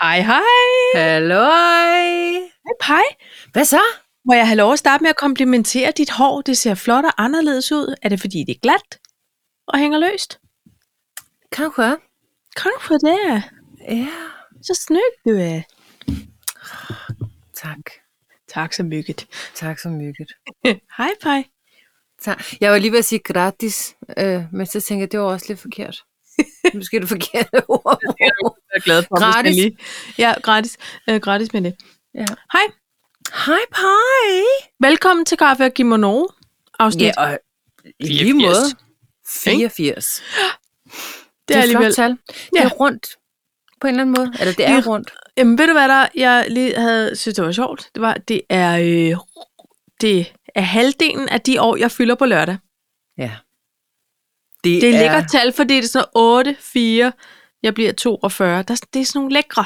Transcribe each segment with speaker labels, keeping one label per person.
Speaker 1: Hej, hej.
Speaker 2: Halløj.
Speaker 1: Hej, hej.
Speaker 2: Hvad så?
Speaker 1: Må jeg have lov at starte med at komplimentere dit hår? Det ser flot og anderledes ud. Er det fordi, det er glat og hænger løst?
Speaker 2: Kanskje.
Speaker 1: Kanskje det er.
Speaker 2: Ja.
Speaker 1: Så snyggt du er.
Speaker 2: Tak.
Speaker 1: Tak så mygget.
Speaker 2: Tak så mygget.
Speaker 1: Hej, Paj.
Speaker 2: Tak. Jeg var lige ved at sige gratis, øh, men så tænkte jeg, det var også lidt forkert. Måske er det forkerte ord.
Speaker 1: Jeg er glad for,
Speaker 2: hvis
Speaker 1: gratis.
Speaker 2: man
Speaker 1: Lige. Ja, gratis. Øh, gratis med det.
Speaker 2: Ja.
Speaker 1: Hej.
Speaker 2: Hej, pej.
Speaker 1: Velkommen til Kaffe og Kimono. Afsnit.
Speaker 2: Ja, og i lige
Speaker 1: 84.
Speaker 2: måde.
Speaker 1: Ikke?
Speaker 2: 84.
Speaker 1: det er alligevel.
Speaker 2: et flot tal. Det er
Speaker 1: Ja.
Speaker 2: rundt på en eller anden måde. Eller det
Speaker 1: Det
Speaker 2: er
Speaker 1: er-
Speaker 2: rundt.
Speaker 1: Jamen, ved du hvad der, jeg lige havde synes, det var sjovt? Det var, det er, øh, det er halvdelen af de år, jeg fylder på lørdag.
Speaker 2: Ja.
Speaker 1: Det er lækkert tal, fordi det er sådan noget 8, 4, jeg bliver 42. Der, det er sådan nogle lækre.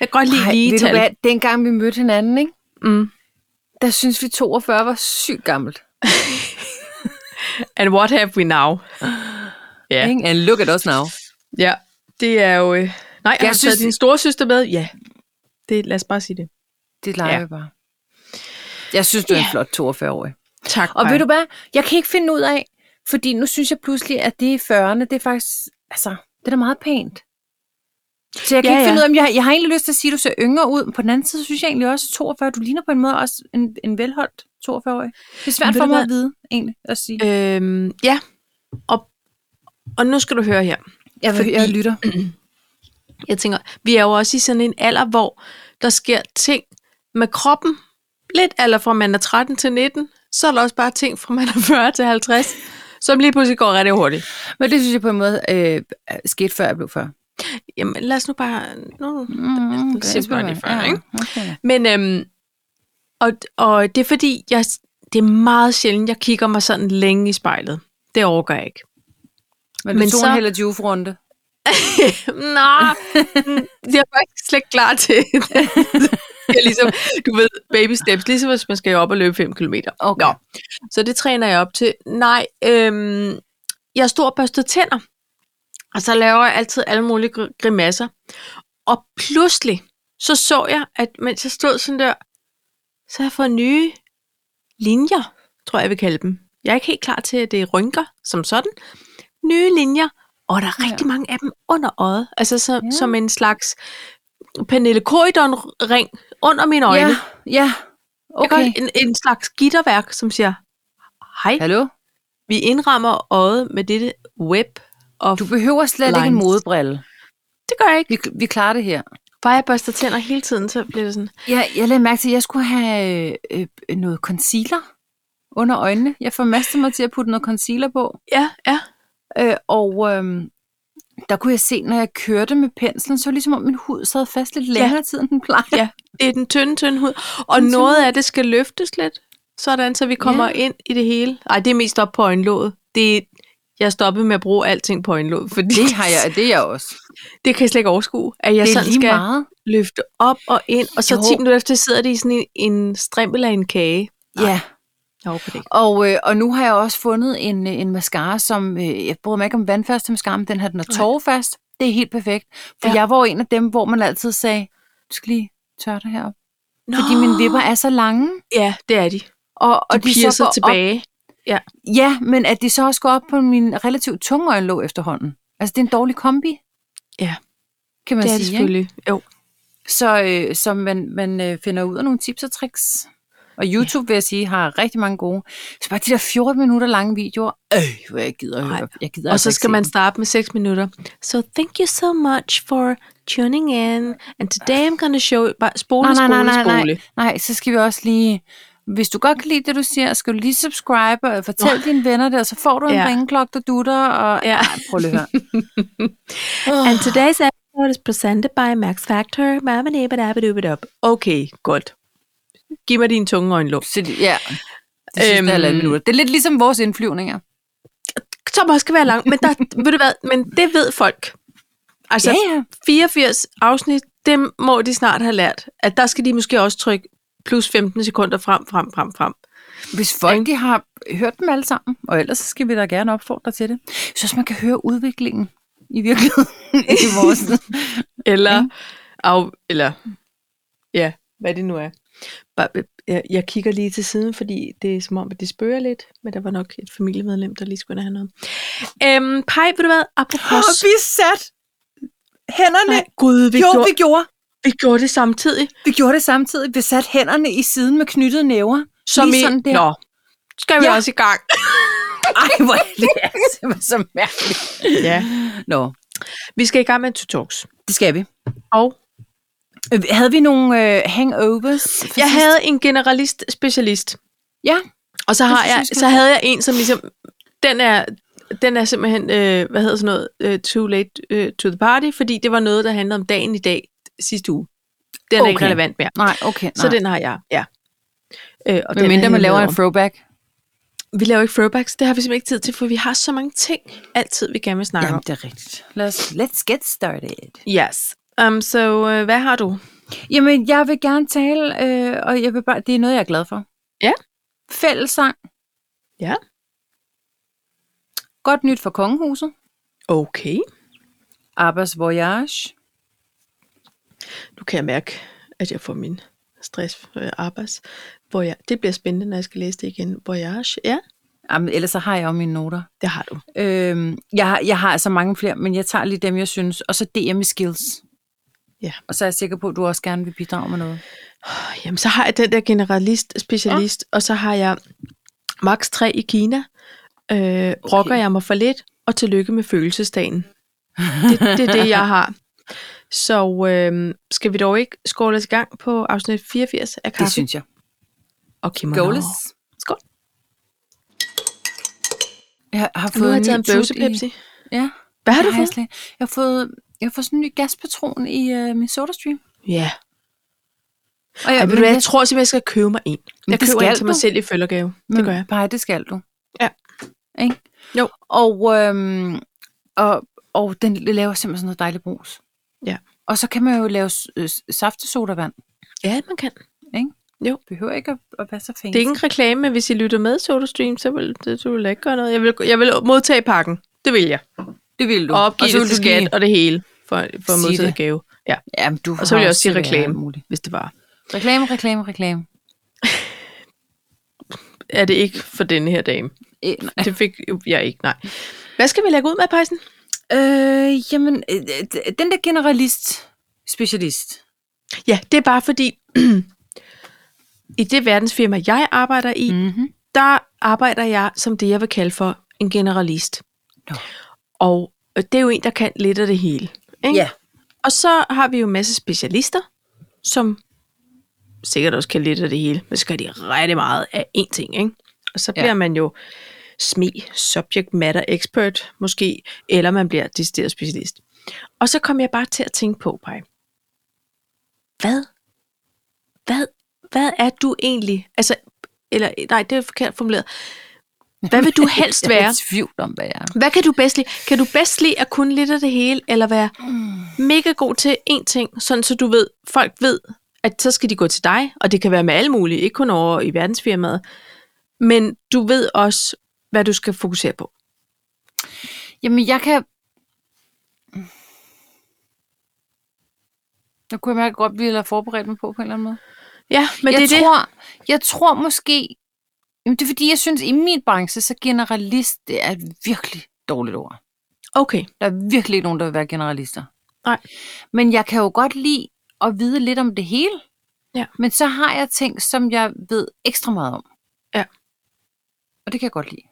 Speaker 1: Jeg kan godt lide
Speaker 2: Ej,
Speaker 1: lige
Speaker 2: ved du
Speaker 1: tal.
Speaker 2: hvad, dengang vi mødte hinanden, ikke?
Speaker 1: Mm.
Speaker 2: der synes vi 42 var sygt gammelt.
Speaker 1: And what have we now? Ja.
Speaker 2: Ikke? And look at us now.
Speaker 1: Ja, det er jo... Øh... Nej, jeg har synes...
Speaker 2: synes-
Speaker 1: taget din storesøster med. Ja, det, lad os bare sige det.
Speaker 2: Det leger
Speaker 1: Ja.
Speaker 2: ja. vi bare. Jeg synes, du er en flot 42-årig.
Speaker 1: Tak.
Speaker 2: Og ved du hvad, jeg kan ikke finde ud af, fordi nu synes jeg pludselig, at det er 40'erne, det er faktisk, altså, det er da meget pænt. Så jeg kan
Speaker 1: Ja,
Speaker 2: ja, ikke
Speaker 1: ja.
Speaker 2: finde ud af, om jeg, jeg har egentlig lyst til at sige, at du ser yngre ud, men på den anden side synes jeg egentlig også, at 42, du ligner på en måde også en, en velholdt 42-årig. Det er
Speaker 1: Men
Speaker 2: svært
Speaker 1: ved
Speaker 2: for
Speaker 1: du
Speaker 2: mig
Speaker 1: hvad?
Speaker 2: at vide, egentlig, at sige.
Speaker 1: Øhm, ja, og, og nu skal du høre her.
Speaker 2: Jeg,
Speaker 1: fordi-
Speaker 2: fordi... jeg lytter.
Speaker 1: Jeg tænker, vi er jo også i sådan en alder, hvor der sker ting med kroppen. Lidt alder fra man er 13 til 19, så er der også bare ting fra man er 40 til 50, som lige pludselig går rigtig hurtigt.
Speaker 2: Men det synes jeg på en måde øh, skete, før jeg blev 40.
Speaker 1: Jamen lad os nu bare... Nu.
Speaker 2: Mm,
Speaker 1: det siger man lige før, ikke?
Speaker 2: Okay.
Speaker 1: Men øhm, og, og det er fordi, jeg, det er meget sjældent, jeg kigger mig sådan længe i spejlet. Det overgår jeg ikke.
Speaker 2: Men,
Speaker 1: Men
Speaker 2: men så...
Speaker 1: så-
Speaker 2: en heller juve-runde.
Speaker 1: Nå, mm, jeg var ikke slet ikke klar til det. Jeg ligesom, du ved, baby steps, ligesom hvis man skal op og løbe 5 km.
Speaker 2: Okay.
Speaker 1: Nå. Så det træner jeg op til. Nej, øhm, jeg står og børster tænder, og så laver jeg altid alle mulige gr- grimasser. Og pludselig, så så jeg, at mens jeg stod sådan der, så har jeg fået nye linjer, tror jeg, jeg vil kalde dem. Jeg er ikke helt klar til, at det er rynker som sådan. Nye linjer, og der er rigtig mange af dem under øjet. Altså så, ja.
Speaker 2: Ja.
Speaker 1: som en slags Pernille Corridon-ring under mine øjne.
Speaker 2: Ja, ja.
Speaker 1: Okay.
Speaker 2: Okay.
Speaker 1: en, en slags gitterværk, som siger, hej,
Speaker 2: Hallo?
Speaker 1: vi indrammer øjet med dette web. Og
Speaker 2: Du behøver slet Lines. ikke en
Speaker 1: Lines.
Speaker 2: modebrille.
Speaker 1: det gør jeg ikke.
Speaker 2: Vi, vi klarer det her.
Speaker 1: Bare jeg børster tænder hele tiden, så bliver det sådan,
Speaker 2: Jeg, jeg lagde mærke til, at jeg skulle have øh, øh, noget concealer under øjnene. Jeg formastede mig til at putte noget concealer på.
Speaker 1: ja, ja.
Speaker 2: Øh, og øh, der kunne jeg se, når jeg kørte med penslen, så var det ligesom om min hud sad fast lidt længere ja. tid, end den plejer.
Speaker 1: Ja. Det er den tynde, tynde hud. Og
Speaker 2: Den tynde
Speaker 1: noget af det skal løftes lidt, sådan så vi kommer
Speaker 2: Ja.
Speaker 1: ind i det hele. Ej, det er mest op på øjenlåget. Det er, jeg stoppede med at bruge alting på øjenlåget, fordi
Speaker 2: Det har jeg, det er jeg også.
Speaker 1: det kan jeg slet ikke overskue, at jeg
Speaker 2: det er
Speaker 1: sådan
Speaker 2: lige
Speaker 1: skal
Speaker 2: meget.
Speaker 1: løfte op og ind, og så
Speaker 2: Jo.
Speaker 1: 10 minutter efter sidder det i sådan en, en strimmel af en kage.
Speaker 2: Ja.
Speaker 1: Jeg håber det ikke.
Speaker 2: Og, øh, og nu har jeg også fundet en, øh, en mascara, som øh, jeg bryder mig ikke om vandfaste mascara, men den her, den er
Speaker 1: Nej.
Speaker 2: tårfast. Det er helt perfekt. For
Speaker 1: Ja.
Speaker 2: ja. jeg var jo en af dem, hvor man altid sagde, du skal lige tørre det her op.
Speaker 1: Nå.
Speaker 2: Fordi mine vipper er så lange.
Speaker 1: Ja, det er de.
Speaker 2: Og,
Speaker 1: Og
Speaker 2: og
Speaker 1: de, de piercer
Speaker 2: går
Speaker 1: tilbage.
Speaker 2: Op, ja, men at de så også går op på min relativt tunge øjenlåg efterhånden. Altså, det er en dårlig kombi.
Speaker 1: Ja.
Speaker 2: Kan man
Speaker 1: det er det
Speaker 2: sige,
Speaker 1: selvfølgelig. Jo.
Speaker 2: Ikke? Så, øh, så man, man øh, finder ud af nogle tips og tricks. Og YouTube, ja. vil jeg sige, har rigtig mange gode. Så bare de der 14 minutter lange videoer. Øh, hvor jeg gider at
Speaker 1: Ej.
Speaker 2: høre. Jeg gider
Speaker 1: Og
Speaker 2: altså
Speaker 1: så
Speaker 2: ikke
Speaker 1: skal
Speaker 2: se
Speaker 1: man
Speaker 2: dem.
Speaker 1: starte med 6 minutter. So thank you so much for tuning in. And today I'm gonna show you... Bare spole,
Speaker 2: Nej, nej,
Speaker 1: spole,
Speaker 2: nej, nej, nej.
Speaker 1: spole.
Speaker 2: Nej, så skal vi også lige... Hvis du godt kan lide det, du siger, skal du lige subscribe og fortæl oh. dine venner det, og så får du en
Speaker 1: Ja.
Speaker 2: ja. ringklokke, der dutter. Og...
Speaker 1: Ja.
Speaker 2: Ej, prøv lige at høre.
Speaker 1: And today's episode is presented by Max Factor. Mamadabadabadubadab. Okay, godt. Giv mig din tunge øjenlåg.
Speaker 2: Så, det- ja, de sidste
Speaker 1: Øhm.
Speaker 2: øhm. halvandet minutter. Det er lidt ligesom vores indflyvninger.
Speaker 1: Som også skal være lang, men, der, ved du hvad, men det ved folk. Altså,
Speaker 2: ja.
Speaker 1: 84 afsnit, dem må de snart have lært. At der skal de måske også trykke plus 15 sekunder frem, frem, frem, frem.
Speaker 2: Hvis folk de har hørt dem alle sammen, og ellers så skal vi da gerne opfordre til det. Så man kan høre udviklingen i virkeligheden i vores...
Speaker 1: Eller af, eller ja, hvad det nu er. Bare, øh, jeg, jeg kigger lige til siden, fordi det er som om, at det spørger lidt, men der var nok et familiemedlem, der lige skulle have noget. Øhm, Paj, ved du hvad?
Speaker 2: Og
Speaker 1: Apropos...
Speaker 2: vi sat hænderne.
Speaker 1: Nej, Gud, vi,
Speaker 2: jo,
Speaker 1: gjorde,
Speaker 2: vi gjorde.
Speaker 1: vi gjorde det samtidig.
Speaker 2: Vi gjorde det samtidig. Vi satte hænderne i siden med knyttede næver.
Speaker 1: Som
Speaker 2: Lige
Speaker 1: i,
Speaker 2: sådan der.
Speaker 1: Nå, skal vi
Speaker 2: Ja.
Speaker 1: ja. også i gang.
Speaker 2: Ej, hvor er det altså så mærkeligt.
Speaker 1: ja.
Speaker 2: Nå,
Speaker 1: Vi skal i gang med to talks.
Speaker 2: det skal vi.
Speaker 1: Og
Speaker 2: Øh, Havde vi nogle øh, hangovers? for
Speaker 1: jeg
Speaker 2: sidst?
Speaker 1: havde en generalist specialist,
Speaker 2: Ja,
Speaker 1: og så,
Speaker 2: Det
Speaker 1: har
Speaker 2: synes
Speaker 1: jeg,
Speaker 2: jeg, vi skal
Speaker 1: så
Speaker 2: have.
Speaker 1: havde jeg en, som ligesom, den er, den er simpelthen, øh, hvad hedder sådan noget, øh, too late øh, to the party, fordi det var noget, der handlede om dagen i dag sidste uge. Den er ikke
Speaker 2: Okay.
Speaker 1: relevant mere.
Speaker 2: nej, okay.
Speaker 1: Så den har jeg, ja. Øh, og
Speaker 2: Men
Speaker 1: den
Speaker 2: mindre
Speaker 1: er
Speaker 2: man laver
Speaker 1: hævet
Speaker 2: en throwback.
Speaker 1: om. Vi laver ikke throwbacks, det har vi simpelthen ikke tid til, for vi har så mange ting altid, vi gerne vil snakke
Speaker 2: Jamen, det er rigtigt. Let's, let's get started.
Speaker 1: om. Yes. Um, så øh, hvad har du?
Speaker 2: Jamen, jeg vil gerne tale, øh, og jeg vil bare, det er noget, jeg er glad for.
Speaker 1: Ja.
Speaker 2: Fællesang.
Speaker 1: Ja.
Speaker 2: Godt nyt for kongehuset.
Speaker 1: Okay.
Speaker 2: Abbas Voyage.
Speaker 1: Nu kan jeg mærke, at jeg får min stress øh, arbejds. Hvor jeg, det bliver spændende, når jeg skal læse det igen. Voyage, ja,
Speaker 2: Jamen, ellers så har jeg jo mine noter.
Speaker 1: det har du.
Speaker 2: Øhm, jeg, har- jeg har altså mange flere, men jeg tager lige dem, jeg synes. Og så DM i skills.
Speaker 1: Ja.
Speaker 2: Og så er jeg sikker på, at du også gerne vil bidrage med noget.
Speaker 1: Oh, jamen, så har jeg den der generalist, specialist, ja. og så har jeg max 3 i Kina. Øh, brokker jeg mig for lidt, og tillykke med følelsesdagen. Det, det er det, jeg har. Så øh, skal vi dog ikke skåle os i gang på afsnit 84 af
Speaker 2: Det
Speaker 1: Kaffe
Speaker 2: synes jeg.
Speaker 1: og kimono.
Speaker 2: Goles.
Speaker 1: Skål.
Speaker 2: Jeg har fået
Speaker 1: Nu har jeg taget en
Speaker 2: ny tut i-
Speaker 1: bøvsepepsi.
Speaker 2: Ja.
Speaker 1: Hvad har
Speaker 2: det
Speaker 1: du
Speaker 2: jeg,
Speaker 1: fået?
Speaker 2: slet ikke. jeg har fået jeg har fået sådan en ny gaspatron i øh, min sodastream.
Speaker 1: Ja.
Speaker 2: Og jeg,
Speaker 1: Ej, ved du hvad, jeg tror simpelthen, jeg skal købe mig en.
Speaker 2: Men
Speaker 1: Jeg
Speaker 2: det
Speaker 1: køber
Speaker 2: skal
Speaker 1: en til mig
Speaker 2: du.
Speaker 1: selv i følgergave. Det gør jeg.
Speaker 2: Nej, det skal du.
Speaker 1: Ja.
Speaker 2: Ikke?
Speaker 1: Jo.
Speaker 2: Og, øhm, og, og den laver simpelthen sådan noget dejligt brus.
Speaker 1: Ja.
Speaker 2: Og så kan man jo lave s- øh, saftesodavand.
Speaker 1: Ja, man kan.
Speaker 2: Behøver ikke at, at være så fancy.
Speaker 1: Det er ikke en reklame, men hvis I lytter med SodaStream, så vil det du vil ikke gøre noget. Jeg vil, jeg vil modtage pakken. Det vil jeg.
Speaker 2: det vil du.
Speaker 1: Og opgive
Speaker 2: så
Speaker 1: det
Speaker 2: vil
Speaker 1: til
Speaker 2: du lige-
Speaker 1: skat og det hele for, for at
Speaker 2: Sige
Speaker 1: modtage
Speaker 2: det.
Speaker 1: gave,
Speaker 2: Jamen, du
Speaker 1: Og så vil
Speaker 2: har
Speaker 1: jeg også sige
Speaker 2: til at være
Speaker 1: reklame.
Speaker 2: alt muligt.
Speaker 1: hvis det var.
Speaker 2: Reklame, reklame, reklame.
Speaker 1: Er det ikke for denne her dame?
Speaker 2: Øh, nej.
Speaker 1: Det fik jeg ikke, nej. Hvad skal vi lægge ud med, Pejsen?
Speaker 2: øh, jamen, øh, d- den der generalist, specialist.
Speaker 1: Ja, det er bare fordi, i det verdensfirma, jeg arbejder i,
Speaker 2: Mm-hmm.
Speaker 1: der arbejder jeg som det, jeg vil kalde for en generalist.
Speaker 2: Nå.
Speaker 1: Og øh, det er jo en, der kan lidt af det hele. Ikke?
Speaker 2: Ja.
Speaker 1: Og så har vi jo en masse specialister, som sikkert også kan lidt af det hele, men så kan de rigtig meget af én ting. Ikke? Og så
Speaker 2: Ja.
Speaker 1: bliver man jo SME, Subject Matter Expert måske, eller man bliver decideret specialist. Og så kom jeg bare til at tænke på, Paj. Hvad? Hvad? Hvad er du egentlig? Altså, eller, nej, det er forkert formuleret. Hvad vil du helst
Speaker 2: Jeg er
Speaker 1: være?
Speaker 2: i tvivl om, hvad jeg er.
Speaker 1: Hvad kan du bedst lide? Kan du bedst lide at kunne lidt af det hele, eller være mega god til én ting, sådan så du ved, folk ved, at så skal de gå til dig, og det kan være med alle mulige, ikke kun over i verdensfirmaet, men du ved også, hvad du skal fokusere på.
Speaker 2: Jamen, jeg kan... Jeg kunne jeg mærke godt, at vi ville have forberedt mig på på en eller anden måde.
Speaker 1: Ja, men
Speaker 2: jeg
Speaker 1: det er det.
Speaker 2: tror, det. Jeg tror måske... Jamen, det er fordi, jeg synes, i min branche, så generalist, det er et virkelig dårligt ord.
Speaker 1: Okay,
Speaker 2: Der er virkelig ikke nogen, der vil være generalister.
Speaker 1: Nej.
Speaker 2: Men jeg kan jo godt lide at vide lidt om det hele.
Speaker 1: Ja.
Speaker 2: Men så har jeg ting, som jeg ved ekstra meget om.
Speaker 1: Ja.
Speaker 2: Og det kan jeg godt lide,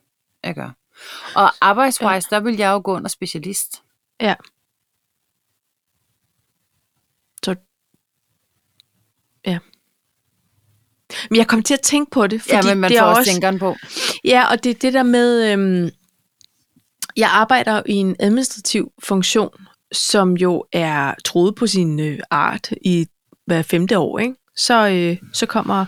Speaker 2: jeg gør. Og arbejdswise, der vil jeg jo gå under specialist.
Speaker 1: men jeg kom til at tænke på det, fordi
Speaker 2: ja, men man
Speaker 1: det er
Speaker 2: får også
Speaker 1: også
Speaker 2: tænkeren på.
Speaker 1: Ja, og det er det der med, øhm, jeg arbejder jo i en administrativ funktion, som jo er troet på sin øh, art i hver femte år, ikke? Så, øh, så kommer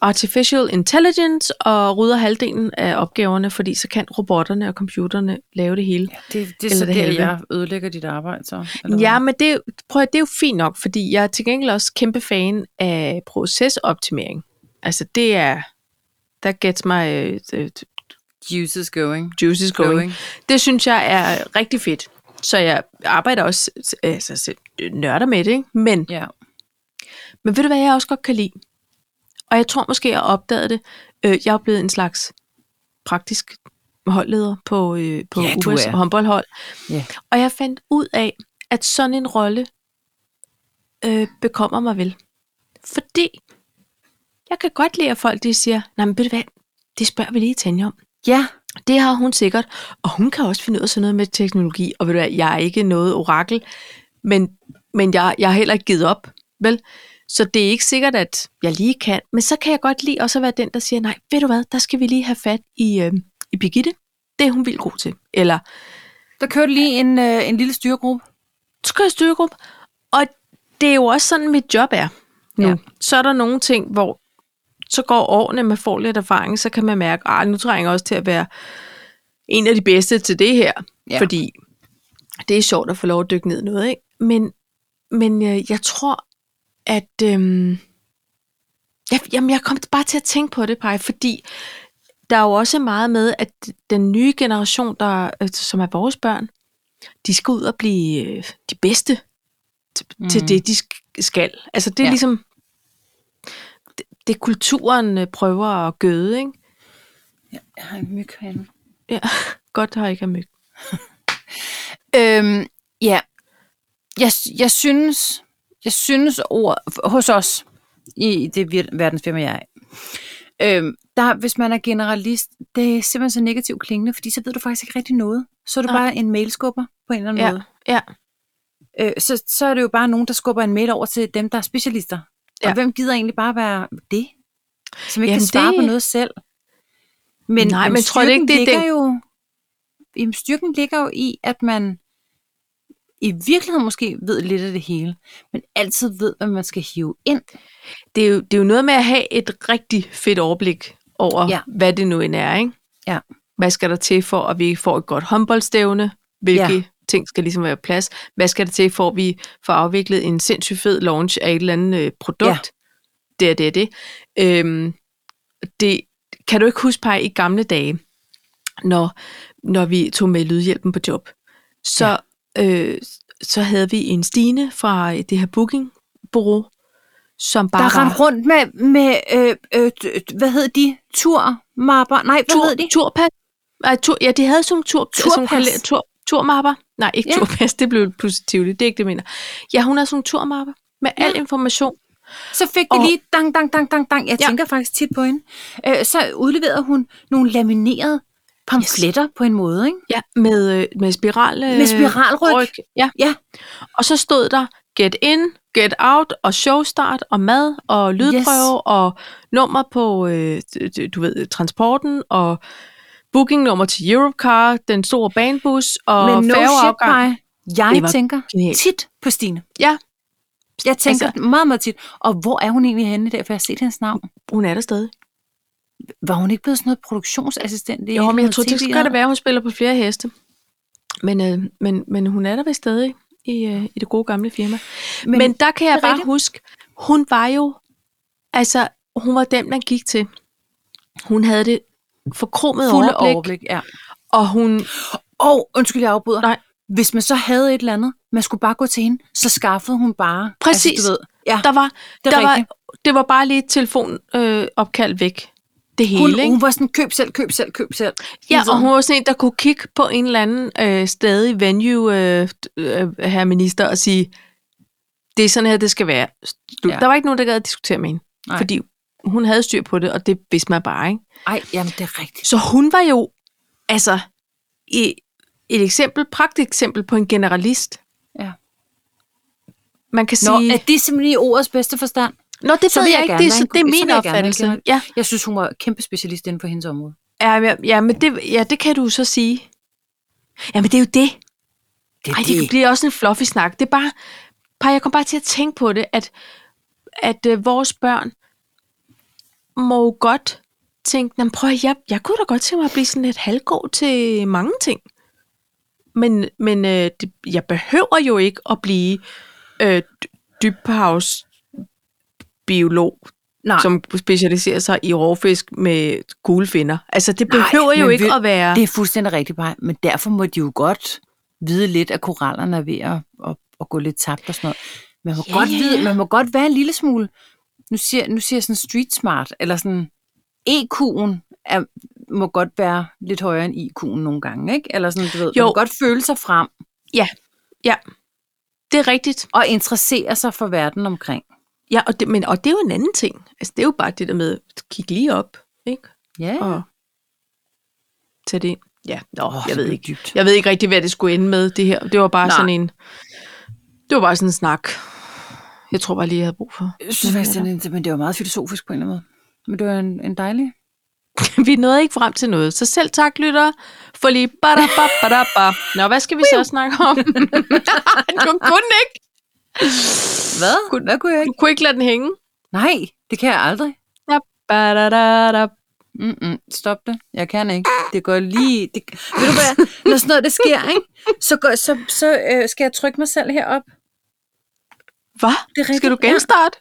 Speaker 1: artificial intelligence og rydder halvdelen af opgaverne, fordi så kan robotterne og computerne lave det hele.
Speaker 2: Det, det er
Speaker 1: Eller
Speaker 2: så
Speaker 1: det
Speaker 2: det,
Speaker 1: halve.
Speaker 2: jeg ødelægger dit arbejde, så. eller
Speaker 1: Ja,
Speaker 2: hvad?
Speaker 1: men det, prøv at, det er jo fint nok, fordi jeg er til gengæld også kæmpe fan af procesoptimering. Altså det er, der gets my øh,
Speaker 2: Juices going.
Speaker 1: juices going. Det synes jeg er rigtig fedt. Så jeg arbejder også, altså selv nørder med det, ikke? Men,
Speaker 2: Ja.
Speaker 1: men ved du hvad, jeg også godt kan lide? Og jeg tror måske, jeg opdagede det. Øh, jeg er blevet en slags praktisk holdleder på, øh, på
Speaker 2: Ja,
Speaker 1: ja,
Speaker 2: du
Speaker 1: Ubers
Speaker 2: er.
Speaker 1: håndboldhold.
Speaker 2: Ja.
Speaker 1: Og jeg fandt ud af, at sådan en rolle øh, bekommer mig vel. Fordi jeg kan godt lide, at folk de siger, nej, men ved du hvad, det spørger vi lige Tanja om.
Speaker 2: Ja.
Speaker 1: Det har hun sikkert, og hun kan også finde ud af sådan noget med teknologi, og ved du hvad, jeg er ikke noget orakel, men, men jeg, jeg har heller ikke givet op, vel? Så det er ikke sikkert, at jeg lige kan, men så kan jeg godt lide også at være den, der siger, nej, ved du hvad, der skal vi lige have fat i, øh, i Birgitte, det er hun vildt god til, eller
Speaker 2: Der kørte lige en, øh, en lille styregruppe.
Speaker 1: så kører jeg styregruppe, og det er jo også sådan, mit job er nu.
Speaker 2: Ja.
Speaker 1: Ja. Så er der nogle ting, hvor så går årene, man får lidt erfaring, så kan man mærke, at nu trænger jeg også til at være en af de bedste til det her.
Speaker 2: Ja.
Speaker 1: Ja. Fordi det er sjovt at få lov at dykke ned i noget, ikke? Men, men øh, jeg tror, at... Øhm, jeg, jamen, jeg kom bare til at tænke på det, Paj, fordi der er jo også meget med, at den nye generation, der, øh, som er vores børn, de skal ud og blive øh, de bedste t- mm.
Speaker 2: Mhm.
Speaker 1: til det, de sk- skal. Altså, det er
Speaker 2: Ja.
Speaker 1: ja. ligesom det, det kulturen øh, prøver at gøde, ikke?
Speaker 2: Jeg har en myg herinde.
Speaker 1: Ja, godt, der har ikke er myg.
Speaker 2: Øhm, ja. Jeg, jeg synes, jeg synes ord, hos os, i i det vir- verdensfirma, jeg er i, øhm, der, hvis man er generalist, det er simpelthen så negativt klingende, fordi så ved du faktisk ikke rigtig noget. Så er du
Speaker 1: Nej.
Speaker 2: bare en mailskubber på en eller anden
Speaker 1: Ja,
Speaker 2: måde.
Speaker 1: ja.
Speaker 2: Øh, så, så er det jo bare nogen, der skubber en mail over til dem, der er specialister. Ja. Og
Speaker 1: Ja.
Speaker 2: hvem gider egentlig bare være det? Som ikke
Speaker 1: Jamen,
Speaker 2: kan svare det... på
Speaker 1: det-
Speaker 2: noget selv.
Speaker 1: Nej, men tror du ikke,
Speaker 2: styrken
Speaker 1: det er
Speaker 2: ligger
Speaker 1: den-
Speaker 2: jo, jamen, styrken ligger jo i, at man i virkeligheden måske ved lidt af det hele, men altid ved, hvad man skal hive ind.
Speaker 1: Det, er jo, det er jo noget med at have et rigtig fedt overblik over,
Speaker 2: Ja.
Speaker 1: ja. hvad det nu end er, ikke?
Speaker 2: Ja.
Speaker 1: Hvad skal der til for, at vi får et godt håndboldstævne? Hvilke
Speaker 2: Ja.
Speaker 1: ja. ting skal ligesom være på plads? Hvad skal der til for, at vi får afviklet en sindssygt fed launch af et eller andet øh, produkt? Ja.
Speaker 2: Ja.
Speaker 1: Det er det, er det. Øhm, det kan du ikke huske, Paj, i gamle dage, når, når vi tog med lydhjælpen på job, så, ja. øh, så havde vi en Stine fra øh, det her bookingbureau, som bare
Speaker 2: Der er
Speaker 1: var
Speaker 2: rendt rundt med, med øh, øh, d- hvad hedder de? Turmapper? Nej, hvad
Speaker 1: tur,
Speaker 2: hedder de?
Speaker 1: Turpas. Nej, tur, ja, de havde sådan nogle tur,
Speaker 2: Turpas.
Speaker 1: sådan nogle kalender- tur, turmapper. Nej, ikke
Speaker 2: Ja.
Speaker 1: ja. turpas, det blev positivt. Det er ikke det, jeg mener. Ja, hun har sådan nogle turmapper med al
Speaker 2: Ja.
Speaker 1: information.
Speaker 2: Så fik de
Speaker 1: Og-
Speaker 2: lige dang, dang, dang, dang, dang. Jeg ja.
Speaker 1: Ja.
Speaker 2: tænker faktisk tit på hende. Øh, så udleverede hun nogle laminerede pamfletter yes. på en måde, ikke?
Speaker 1: Ja, med, øh, med spiral... øh,
Speaker 2: Med spiralryg.
Speaker 1: ryg. Ja.
Speaker 2: Ja.
Speaker 1: Og så stod der get in, get out, og showstart, og mad, og lydprøve, yes. og nummer på, øh, d- du ved, transporten, og bookingnummer til Europcar, den store banebus, og
Speaker 2: Men no shit,
Speaker 1: færgeafgang.
Speaker 2: Paj. Jeg
Speaker 1: Det var
Speaker 2: tænker
Speaker 1: genialt.
Speaker 2: tit på Stine.
Speaker 1: Ja.
Speaker 2: Jeg tænker altså,
Speaker 1: Altså-
Speaker 2: meget, meget tit. Og hvor er hun egentlig henne i dag, for jeg har set hendes navn?
Speaker 1: Altså, hun er der stadig.
Speaker 2: Var hun ikke blevet sådan noget produktionsassistent? i
Speaker 1: Jo, men jeg
Speaker 2: noget
Speaker 1: tror, det
Speaker 2: TV
Speaker 1: skal det
Speaker 2: noget?
Speaker 1: være, at hun spiller på flere heste. Men, øh, men, men hun er der vist stadig i, øh, i det gode gamle firma.
Speaker 2: Men,
Speaker 1: Men, men der kan
Speaker 2: det
Speaker 1: jeg
Speaker 2: er
Speaker 1: bare
Speaker 2: rigtigt.
Speaker 1: huske, hun var jo, altså hun var den, man gik til. Hun havde det forkromet
Speaker 2: fulde
Speaker 1: overblik,
Speaker 2: overblik.
Speaker 1: overblik,
Speaker 2: ja.
Speaker 1: og hun,
Speaker 2: Og, undskyld, jeg afbryder.
Speaker 1: Nej.
Speaker 2: Hvis man så havde et eller andet, man skulle bare gå til hende, så skaffede hun bare...
Speaker 1: Præcis.
Speaker 2: Altså, du ved, ja,
Speaker 1: der var,
Speaker 2: det er
Speaker 1: der var,
Speaker 2: rigtigt.
Speaker 1: det var bare lige et telefonopkald øh, opkald væk. Det hele,
Speaker 2: Hun,
Speaker 1: ikke?
Speaker 2: hun var sådan, køb selv, køb selv, køb selv.
Speaker 1: Ja,
Speaker 2: Hele
Speaker 1: og
Speaker 2: tiden.
Speaker 1: hun var sådan en, der kunne kigge på en eller anden øh, stadig venue, øh, d- øh, herre minister, og sige, det er sådan her, det skal være. Slut.
Speaker 2: Ja.
Speaker 1: Ja. Der var ikke nogen, der gad at diskutere med hende.
Speaker 2: Nej.
Speaker 1: Nej. Fordi hun havde styr på det, og det vidste man bare, ikke?
Speaker 2: Ej, jamen det er rigtigt.
Speaker 1: Så hun var jo, altså, i, et eksempel, praktisk eksempel på en generalist.
Speaker 2: Ja.
Speaker 1: Man kan
Speaker 2: Nå,
Speaker 1: sige...
Speaker 2: er det simpelthen i ordets bedste forstand?
Speaker 1: Nå det
Speaker 2: så
Speaker 1: ved
Speaker 2: vil
Speaker 1: jeg
Speaker 2: jeg
Speaker 1: ikke,
Speaker 2: gerne
Speaker 1: det er,
Speaker 2: være
Speaker 1: så,
Speaker 2: en-
Speaker 1: det er
Speaker 2: så
Speaker 1: min
Speaker 2: vil jeg gerne være en
Speaker 1: opfattelse.
Speaker 2: general-
Speaker 1: Ja,
Speaker 2: Jeg synes, hun var kæmpe specialist inden for hendes område.
Speaker 1: ja, ja, ja, men det, ja, det kan du så sige. Jamen, det er jo det.
Speaker 2: Det
Speaker 1: Ej, det, det bliver også en fluffy snak. Det er bare, bare, jeg kom bare til at tænke på det, at, at øh, vores børn må jo godt tænke, "Nå, men prøv at, jeg, jeg kunne da godt tænke mig at blive sådan lidt halvgod til mange ting. Men, men øh, det, jeg behøver jo ikke at blive øh, dy- dybhavsbiolog,
Speaker 2: Nej,
Speaker 1: som specialiserer sig i rovfisk med gulfinder. Altså, det
Speaker 2: Nej,
Speaker 1: behøver Nej, jo
Speaker 2: men
Speaker 1: ikke
Speaker 2: ved-
Speaker 1: at være...
Speaker 2: det er fuldstændig rigtigt, bare. Men derfor må de jo godt vide lidt, at korallerne er ved at, at, at gå lidt tabt og sådan noget. Man må,
Speaker 1: Ja,
Speaker 2: yeah, godt
Speaker 1: ja,
Speaker 2: vide,
Speaker 1: ja.
Speaker 2: man må godt være en lille smule, nu siger, nu siger jeg sådan street smart, eller sådan EQ'en er, må godt være lidt højere end IQ'en nogle gange, ikke? Eller sådan, du ved,
Speaker 1: Jo.
Speaker 2: man må godt føle sig frem
Speaker 1: Det er rigtigt.
Speaker 2: og interessere sig for verden omkring.
Speaker 1: Ja, og det, men, og det er jo en anden ting. Altså, det er jo bare det der med, at kigge lige op, ikke?
Speaker 2: Ja,
Speaker 1: Og tage det ind. Ja, nå,
Speaker 2: Åh,
Speaker 1: jeg
Speaker 2: det
Speaker 1: ved
Speaker 2: blev
Speaker 1: ikke.
Speaker 2: dybt.
Speaker 1: Jeg ved ikke rigtig, hvad det skulle ende med, det her. Det var bare
Speaker 2: Nej.
Speaker 1: Nej. sådan en... Det var bare sådan en snak. Jeg tror bare lige, jeg havde brug for.
Speaker 2: Jeg synes faktisk, den er- men det var meget filosofisk på en eller anden måde. Men det var en, en dejlig...
Speaker 1: Vi nåede ikke frem til noget. Så selv tak, lytter. For lige... Badababadaba. Nå, hvad skal vi så snakke om? du kunne ikke.
Speaker 2: Hvad? Hvad kunne jeg
Speaker 1: Du
Speaker 2: ikke?
Speaker 1: kunne ikke lade den hænge.
Speaker 2: Nej, det kan jeg aldrig.
Speaker 1: Badadadab.
Speaker 2: Mm-mm, stop det. Jeg kan ikke. Det går lige... Det, ved du hvad? Når sådan noget, det sker, ikke? Så, går, så, så øh, skal jeg trykke mig selv herop.
Speaker 1: Hvad?
Speaker 2: Det er rigtigt.
Speaker 1: Skal du genstarte?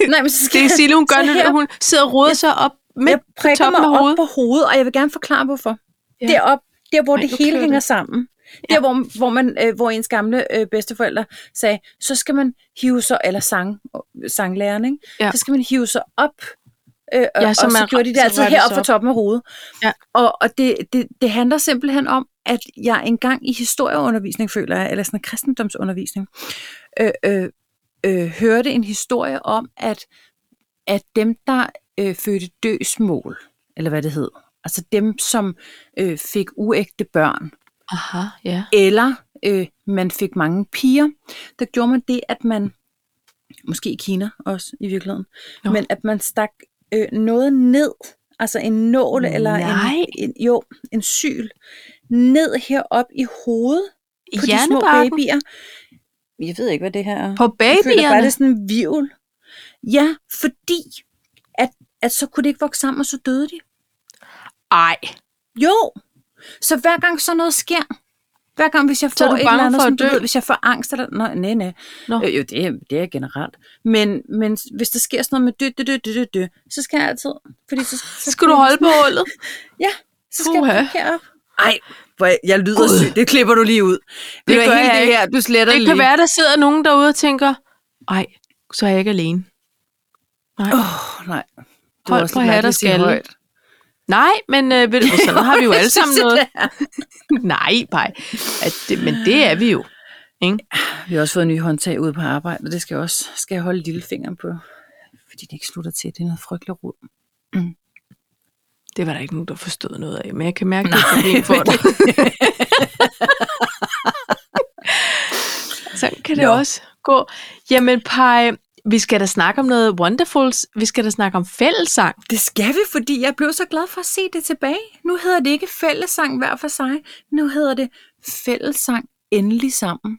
Speaker 2: Ja. Nej, men så skal
Speaker 1: Det er
Speaker 2: jeg,
Speaker 1: Sille, hun gør
Speaker 2: Så her-
Speaker 1: det, hun sidder og roder sig op med
Speaker 2: jeg prikker
Speaker 1: toppen
Speaker 2: mig
Speaker 1: af
Speaker 2: op
Speaker 1: hovedet.
Speaker 2: på hovedet, og jeg vil gerne forklare, hvorfor.
Speaker 1: Ja.
Speaker 2: Ja. Derop, der hvor
Speaker 1: Ej,
Speaker 2: Ej,
Speaker 1: nu
Speaker 2: det hele
Speaker 1: kører
Speaker 2: hænger
Speaker 1: det.
Speaker 2: sammen. Der, hvor, hvor, man, øh, hvor ens gamle øh, bedsteforældre sagde, så skal man hive sig, eller sang, sanglæreren, ikke?
Speaker 1: Ja.
Speaker 2: så skal man hive sig op Øh, og,
Speaker 1: Ja,
Speaker 2: ja,
Speaker 1: så
Speaker 2: så og
Speaker 1: man
Speaker 2: så gjorde de det
Speaker 1: så
Speaker 2: altid
Speaker 1: rører det sig
Speaker 2: heroppe fra
Speaker 1: op.
Speaker 2: toppen af hovedet.
Speaker 1: Ja.
Speaker 2: Og, og det, det, det handler simpelthen om, at jeg engang i historieundervisning, føler jeg, eller sådan en kristendomsundervisning, øh, øh, øh, hørte en historie om, at, at dem, der øh, fødte døsmål, eller hvad det hed, altså dem, som øh, fik uægte børn,
Speaker 1: Aha, ja.
Speaker 2: eller øh, man fik mange piger, der gjorde man det, at man, måske i Kina også i virkeligheden,
Speaker 1: Nå.
Speaker 2: Nå. men at man stak øh, noget ned, altså en nål eller
Speaker 1: Nej.
Speaker 2: en, en, jo, en syl, ned herop i hovedet på de små
Speaker 1: Hjernebarken.
Speaker 2: babyer. Jeg ved ikke, hvad det her er.
Speaker 1: På
Speaker 2: Jeg føler bare, det
Speaker 1: babyerne?
Speaker 2: er sådan en vivl. Ja, fordi at, at så kunne det ikke vokse sammen, og så døde de.
Speaker 1: Nej.
Speaker 2: Jo. Så hver gang sådan noget sker, hver gang hvis jeg
Speaker 1: Så er
Speaker 2: får
Speaker 1: du
Speaker 2: et
Speaker 1: bange
Speaker 2: eller andet,
Speaker 1: for at
Speaker 2: som du
Speaker 1: dø?
Speaker 2: ved, hvis jeg får angst eller... Nej, nej, nej.
Speaker 1: Nå.
Speaker 2: Øh, jo, det er, det er generelt. Men, men hvis der sker sådan noget med dø, dø, dø, dø, dø, dø, så skal jeg altid... Fordi så, så
Speaker 1: Skal du holde på hullet?
Speaker 2: Ja, så skal Uha.
Speaker 1: Puha.
Speaker 2: jeg parkere op. Ej, hvor jeg, jeg lyder
Speaker 1: Gud.
Speaker 2: syg. Det klipper du lige ud. Det,
Speaker 1: gør jeg ikke.
Speaker 2: her, du sletter
Speaker 1: Det kan være, der sidder nogen derude og tænker, ej, så er jeg ikke alene.
Speaker 2: Åh, oh, nej. Det var
Speaker 1: Hold
Speaker 2: også
Speaker 1: på
Speaker 2: lidt
Speaker 1: hat
Speaker 2: mærkeligt
Speaker 1: og
Speaker 2: at sige
Speaker 1: skalle.
Speaker 2: højt.
Speaker 1: Nej, men øh, ved du, sådan har vi jo
Speaker 2: Jeg
Speaker 1: alle
Speaker 2: synes,
Speaker 1: sammen
Speaker 2: det
Speaker 1: noget.
Speaker 2: er-
Speaker 1: Nej, pej. At det, men det er vi jo.
Speaker 2: Vi har også fået nye håndtag ude på arbejde, og det skal jeg også skal jeg holde lillefingeren på, fordi det ikke slutter til. Det er noget frygteligt rod.
Speaker 1: Det var der ikke nogen, der forstod noget af, men jeg kan mærke, at det er et problem for dig. Sådan kan det
Speaker 2: Nå.
Speaker 1: også gå. Jamen, Paj, vi skal da snakke om noget Wonderfuls. Vi skal da snakke om fællesang.
Speaker 2: Det skal vi, fordi jeg blev så glad for at se det tilbage. Nu hedder det ikke fællesang hver for sig. Nu hedder det fællesang endelig sammen.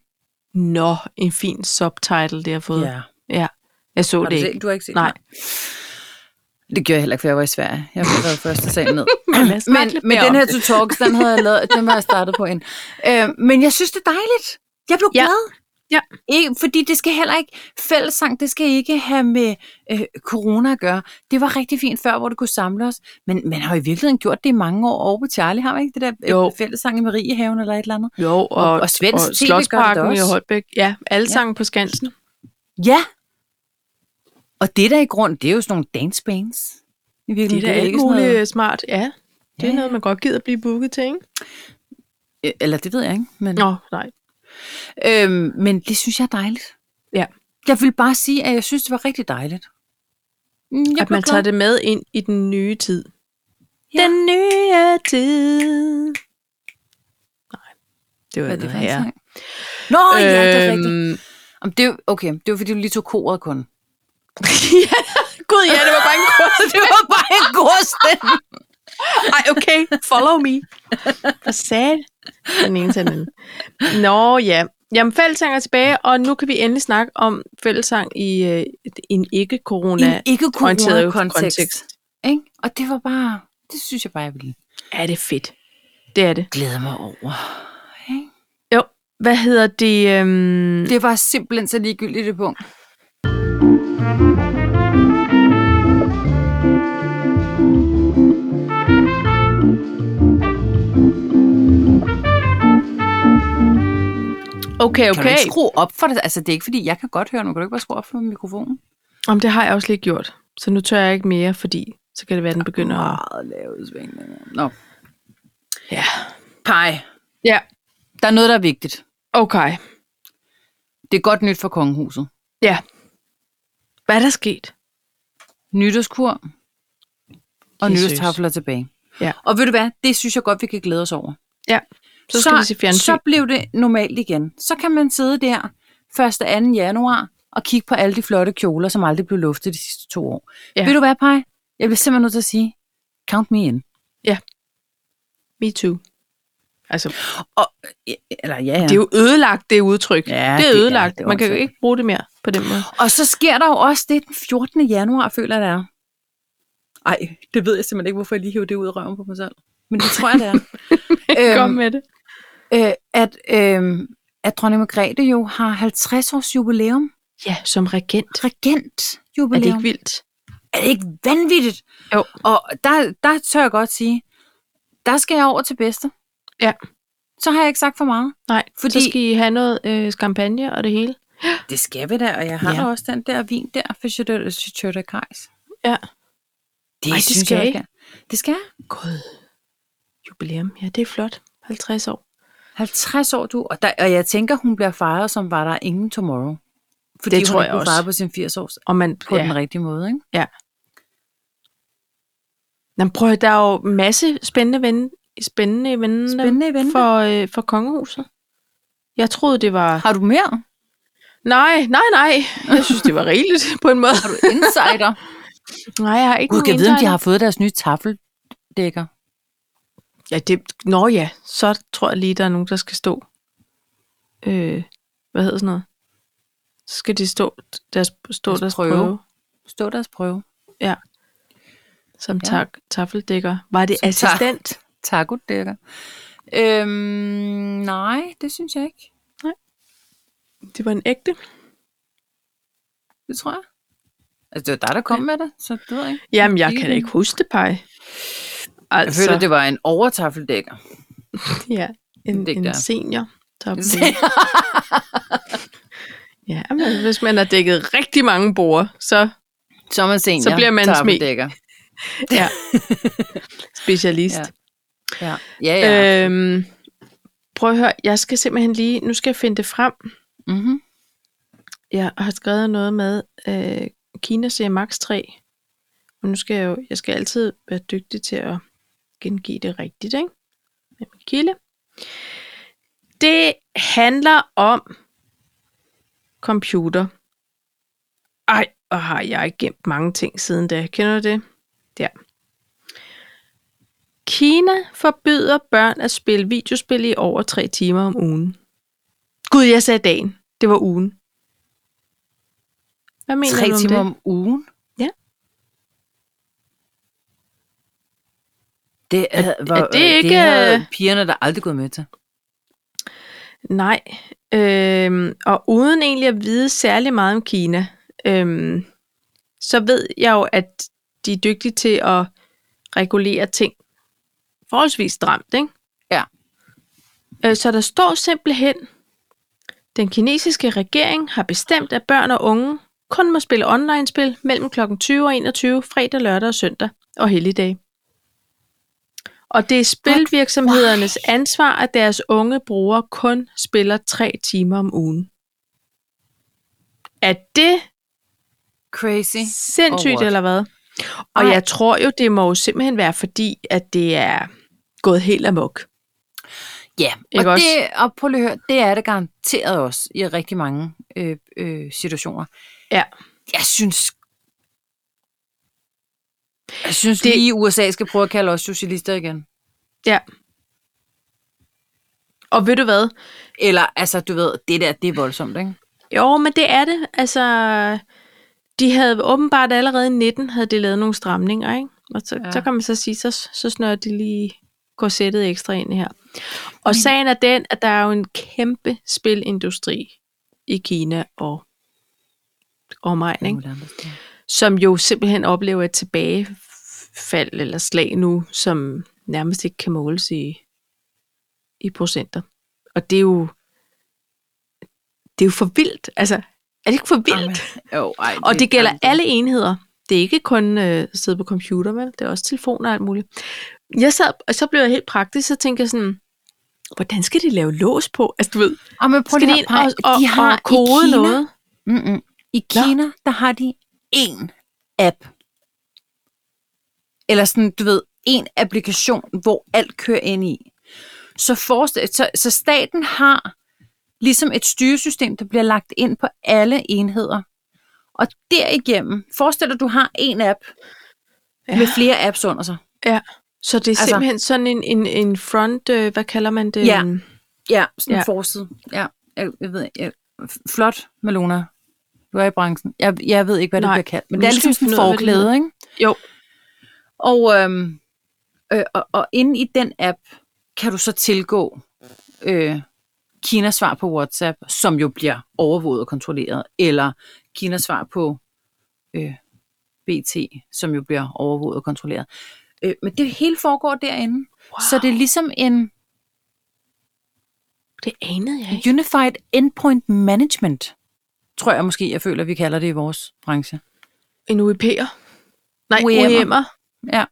Speaker 1: Nå, en fin subtitle, det har fået. Ja. ja. Jeg så
Speaker 2: Har
Speaker 1: det
Speaker 2: du,
Speaker 1: ikke.
Speaker 2: set, du har ikke set
Speaker 1: Nej.
Speaker 2: det? Det gjorde jeg heller ikke, for jeg var i Sverige. Jeg har været første sal ned.
Speaker 1: Men lad os snakke
Speaker 2: men,
Speaker 1: lidt
Speaker 2: men
Speaker 1: mere
Speaker 2: den
Speaker 1: om
Speaker 2: her
Speaker 1: det.
Speaker 2: to talks, den havde jeg lavet, den var jeg startet på en. Øh, men jeg synes, det er dejligt. Jeg blev
Speaker 1: Ja.
Speaker 2: glad.
Speaker 1: Ja.
Speaker 2: Ikke, fordi det skal heller ikke, fællessang, det skal ikke have med øh, corona at gøre. Det var rigtig fint før, hvor det kunne samle os. Men man har i virkeligheden gjort det i mange år over på Charlie, har man ikke det der øh,
Speaker 1: Jo.
Speaker 2: fællessang i Mariehaven eller et eller andet?
Speaker 1: Jo, og,
Speaker 2: og svensk TV gør det da
Speaker 1: Slotsparken i
Speaker 2: også.
Speaker 1: Holbæk. Ja, alle ja. sange på Skansen.
Speaker 2: Ja. Og det der i grund, det er jo sådan nogle dance bands. I
Speaker 1: Det
Speaker 2: virkeligheden,
Speaker 1: er da alt
Speaker 2: ikke sådan noget-
Speaker 1: muligt øh, smart. Ja, det ja. er
Speaker 2: Ja.
Speaker 1: noget, man godt gider at blive booket til, ikke?
Speaker 2: Øh, Eller det ved jeg ikke. Men...
Speaker 1: Nå, nej.
Speaker 2: Øhm, men det synes jeg er dejligt.
Speaker 1: Ja.
Speaker 2: Jeg vil bare sige, at jeg synes, det var rigtig dejligt. Mm, Jeg
Speaker 1: at man tager det med ind i den nye tid. Ja.
Speaker 2: Ja.
Speaker 1: Den nye tid. Nej, det var
Speaker 2: Hvad
Speaker 1: det,
Speaker 2: er det for en
Speaker 1: her.
Speaker 2: sang? Nå, øh, ja, det er rigtigt.
Speaker 1: Øhm,
Speaker 2: Jamen, det er, jo- okay, det var fordi, du lige tog koret kun.
Speaker 1: ja, Gud, ja, det var bare en kurs.
Speaker 2: det var bare en god stemme.
Speaker 1: Ej, okay, follow me. Hvad sagde det? den ene til den anden. Nå ja, jamen fællesang er tilbage, og nu kan vi endelig snakke om fællesang i øh, en
Speaker 2: I
Speaker 1: ikke-corona
Speaker 2: en ikke
Speaker 1: orienteret
Speaker 2: kontekst.
Speaker 1: kontekst.
Speaker 2: Ikke? Og det var bare, det synes jeg bare, jeg ville
Speaker 1: Er det fedt? Det er det.
Speaker 2: glæde mig over. Ikke?
Speaker 1: Jo, hvad hedder det? Øhm,
Speaker 2: Det var simpelthen så ligegyldigt det punkt.
Speaker 1: Okay,
Speaker 2: Kan du
Speaker 1: okay.
Speaker 2: ikke skrue op for det? Altså, det er ikke fordi, jeg kan godt høre, men kan du ikke bare skrue op for mikrofonen?
Speaker 1: Om det har jeg også lige gjort. Så nu tør jeg ikke mere, fordi så kan det være, den begynder at...
Speaker 2: Meget lave svingninger. Nå.
Speaker 1: Ja.
Speaker 2: Pej.
Speaker 1: Ja,
Speaker 2: Der er noget, der er vigtigt.
Speaker 1: okay.
Speaker 2: Det er godt nyt for kongehuset.
Speaker 1: Ja. Hvad er der sket?
Speaker 2: Nytårskur og
Speaker 1: Jesus.
Speaker 2: nytårstafler tilbage.
Speaker 1: Ja.
Speaker 2: Og ved du hvad? Det synes jeg godt, vi kan glæde os over.
Speaker 1: Ja. Så skal vi se fjernsyn.
Speaker 2: Så blev det normalt igen. Så kan man sidde der 1. og 2. januar og kigge på alle de flotte kjoler, som aldrig blev luftet de sidste to år.
Speaker 1: Ja.
Speaker 2: Ja. Ved du hvad, Paj? Jeg bliver simpelthen nødt til at sige, count me in.
Speaker 1: Me too. Altså,
Speaker 2: Eller ja, ja.
Speaker 1: det er jo ødelagt, det udtryk.
Speaker 2: Ja,
Speaker 1: det
Speaker 2: det
Speaker 1: er
Speaker 2: er-
Speaker 1: ødelagt.
Speaker 2: det er
Speaker 1: Man kan jo
Speaker 2: åndssvagt.
Speaker 1: ikke bruge det mere på den måde.
Speaker 2: Og så sker der jo også det den 14. januar, føler jeg, det er. Ej, det ved jeg simpelthen ikke, hvorfor jeg lige hævde det ud af røven på mig selv. Men det tror jeg, det er. Øhm,
Speaker 1: Kom med det.
Speaker 2: øh, at, øh, at dronning Margrethe jo har 50 års jubilæum.
Speaker 1: Ja, som regent.
Speaker 2: Regent
Speaker 1: Er det
Speaker 2: jubilæum.
Speaker 1: ikke vildt?
Speaker 2: er det ikke vanvittigt?
Speaker 1: Jo.
Speaker 2: Og der, der tør jeg godt sige, der skal jeg over til bedste.
Speaker 1: Ja.
Speaker 2: Så har jeg ikke sagt for meget.
Speaker 1: Nej, fordi...
Speaker 2: Fordi-
Speaker 1: så skal I have noget øh, champagne og det hele.
Speaker 2: Det skal vi da, og jeg
Speaker 1: har da
Speaker 2: også den der vin der fra Chateau Kajs.
Speaker 1: Ja. Ej,
Speaker 2: Det, Ej,
Speaker 1: det
Speaker 2: det synes
Speaker 1: skal
Speaker 2: skal jeg,
Speaker 1: I.
Speaker 2: ikke. Det skal jeg.
Speaker 1: God. Jubilæum. Ja, det er flot. 50 år.
Speaker 2: 50 år, du. Og, der, og jeg tænker, hun bliver fejret, som var der ingen tomorrow. Fordi
Speaker 1: Det
Speaker 2: hun
Speaker 1: tror
Speaker 2: ikke
Speaker 1: jeg
Speaker 2: blev
Speaker 1: også.
Speaker 2: fejret på sin 80 års
Speaker 1: Og man,
Speaker 2: på ja. den rigtige måde, ikke?
Speaker 1: Jamen, prøv, at høre, der er jo masse spændende ven, spændende ven,
Speaker 2: Spændende event. For...
Speaker 1: for, øh, for kongehuset. Jeg troede, det var...
Speaker 2: Har du mere?
Speaker 1: Nej, nej, nej. Jeg synes, det var rigeligt på en måde.
Speaker 2: Har du insider?
Speaker 1: Nej, jeg har ikke
Speaker 2: Gud,
Speaker 1: nogen
Speaker 2: kan jeg vide, om de
Speaker 1: insider.
Speaker 2: har fået deres nye taffeldækker?
Speaker 1: Ja, det... Nå ja, så tror jeg lige, der er nogen, der skal stå. Øh, hvad hedder sådan noget? Så skal de stå deres, stå deres,
Speaker 2: Deres
Speaker 1: deres prøve.
Speaker 2: prøve.
Speaker 1: prøve,
Speaker 2: Stå deres prøve.
Speaker 1: som
Speaker 2: Ja.
Speaker 1: ja. tak, taffeldækker. Var det
Speaker 2: Som tak.
Speaker 1: assistent?
Speaker 2: Tagodækker. Øhm, nej, det synes jeg ikke.
Speaker 1: Det var en ægte.
Speaker 2: Det tror jeg. Altså, det var dig, der kom med det, så det ved jeg ikke.
Speaker 1: Jamen, jeg kan da ikke huske det, Paj.
Speaker 2: Jeg
Speaker 1: Altså,
Speaker 2: føler, det var en overtaffeldækker.
Speaker 1: ja, en,
Speaker 2: det er ikke
Speaker 1: en
Speaker 2: der.
Speaker 1: senior. taffeldækker. Ja, men hvis man har dækket rigtig mange borer, så
Speaker 2: så er man senior.
Speaker 1: Så bliver man en smed.
Speaker 2: taffeldækker.
Speaker 1: ja. specialist.
Speaker 2: Ja, ja. ja. Øh.
Speaker 1: Ja. Øhm, prøv at høre, jeg skal simpelthen lige, nu skal jeg finde det frem.
Speaker 2: Mm-hmm.
Speaker 1: Jeg har skrevet noget med, øh, Kina ser max 3. Og nu skal jeg jo, jeg skal altid være dygtig til at gengive det rigtigt, ikke? Med min kilde. Det handler om computer. Ej, og har jeg gemt mange ting siden da. Kender du det? Der. Kina forbyder børn at spille videospil i over tre timer om ugen. Gud, jeg sagde dagen. Det var ugen. Hvad mener
Speaker 2: Tre
Speaker 1: du om
Speaker 2: timer
Speaker 1: det?
Speaker 2: om ugen?
Speaker 1: Ja.
Speaker 2: Det er, var,
Speaker 1: er det ikke,
Speaker 2: det havde
Speaker 1: øh,
Speaker 2: pigerne, der aldrig gået med til.
Speaker 1: Nej, øhm, og uden egentlig at vide særlig meget om Kina, øhm, så ved jeg jo, at de er dygtige til at regulere ting forholdsvis stramt, ikke?
Speaker 2: Ja.
Speaker 1: Øh, så der står simpelthen, den kinesiske regering har bestemt, at børn og unge kun må spille online-spil mellem kl. 20 og 21 fredag, lørdag og søndag og helligdage. Og det er spilvirksomhedernes ansvar, at deres unge brugere kun spiller tre timer om ugen. Er det
Speaker 2: Crazy.
Speaker 1: sindssygt,
Speaker 2: Og what?
Speaker 1: eller hvad? Og
Speaker 2: Ej.
Speaker 1: jeg tror jo, det må jo simpelthen være fordi, at det er gået helt amok.
Speaker 2: Ja,
Speaker 1: Ikke
Speaker 2: og,
Speaker 1: også?
Speaker 2: det, og prøv lige at høre, det er det garanteret også i rigtig mange øh, øh, situationer.
Speaker 1: Ja.
Speaker 2: Jeg synes... Jeg synes
Speaker 1: Det-
Speaker 2: det... lige, USA skal prøve at kalde os socialister igen.
Speaker 1: Ja. Og ved du hvad?
Speaker 2: Eller, altså, du ved, det der, det er voldsomt, ikke?
Speaker 1: Jo, men det er det. Altså, de havde åbenbart allerede i 19 havde de lavet nogle stramninger, ikke? Og så, ja.
Speaker 2: Ja.
Speaker 1: så kan man så sige, så, så snører de lige korsettet ekstra ind her. Og sagen er den, at der er jo en kæmpe spilindustri i Kina og omegn, ikke? som jo simpelthen oplever et tilbagefald eller slag nu, som nærmest ikke kan måles i, i procenter. Og det er jo det er jo for vildt. Altså, er det ikke for vildt? Amen.
Speaker 2: Jo, ej, det,
Speaker 1: Og det gælder
Speaker 2: ej, det-
Speaker 1: alle enheder. Det er ikke kun øh, sidde på computer, men det er også telefoner og alt muligt. Jeg sad, og så blev jeg helt praktisk, så tænkte jeg sådan, hvordan skal de lave lås på? Altså du ved,
Speaker 2: Og men prøv
Speaker 1: skal de
Speaker 2: lige at
Speaker 1: ind
Speaker 2: pege-
Speaker 1: og, og,
Speaker 2: de har
Speaker 1: og kode
Speaker 2: i Kina,
Speaker 1: noget?
Speaker 2: Mm-mm. I Kina, der har de én app. Eller sådan, du ved, en applikation, hvor alt kører ind i. Så, forestil, så, så staten har ligesom et styresystem, der bliver lagt ind på alle enheder. Og derigennem, forestil dig, du har en app ja. med flere apps under sig.
Speaker 1: Så det er
Speaker 2: Altså-
Speaker 1: altså, simpelthen sådan en, en, en front, øh, hvad kalder man det?
Speaker 2: Ja.
Speaker 1: En-
Speaker 2: Ja, sådan ja.
Speaker 1: Ja.
Speaker 2: en forside. Ja, jeg, jeg ved jeg, flot, Malona. Du er i branchen. Jeg, jeg ved ikke, hvad det
Speaker 1: Nej,
Speaker 2: bliver kaldt. Men
Speaker 1: nu
Speaker 2: det er
Speaker 1: skal
Speaker 2: ligesom
Speaker 1: vi
Speaker 2: sådan en
Speaker 1: finde ud af, hvad det
Speaker 2: forklæde, ikke?
Speaker 1: Jo,
Speaker 2: Og, øhm, øh, og, og inde i den app kan du så tilgå øh, Kinas svar på WhatsApp, som jo bliver overvåget og kontrolleret, eller Kinas svar på øh, BT, som jo bliver overvåget og kontrolleret. Øh, men det hele foregår derinde. Wow. Så det er ligesom en
Speaker 1: det anede jeg ikke.
Speaker 2: Unified Endpoint Management, tror jeg måske, jeg føler, vi kalder det i vores branche.
Speaker 1: En UEP'er? Nej, E
Speaker 2: UEM'er.
Speaker 1: UEM'er.
Speaker 2: Ja.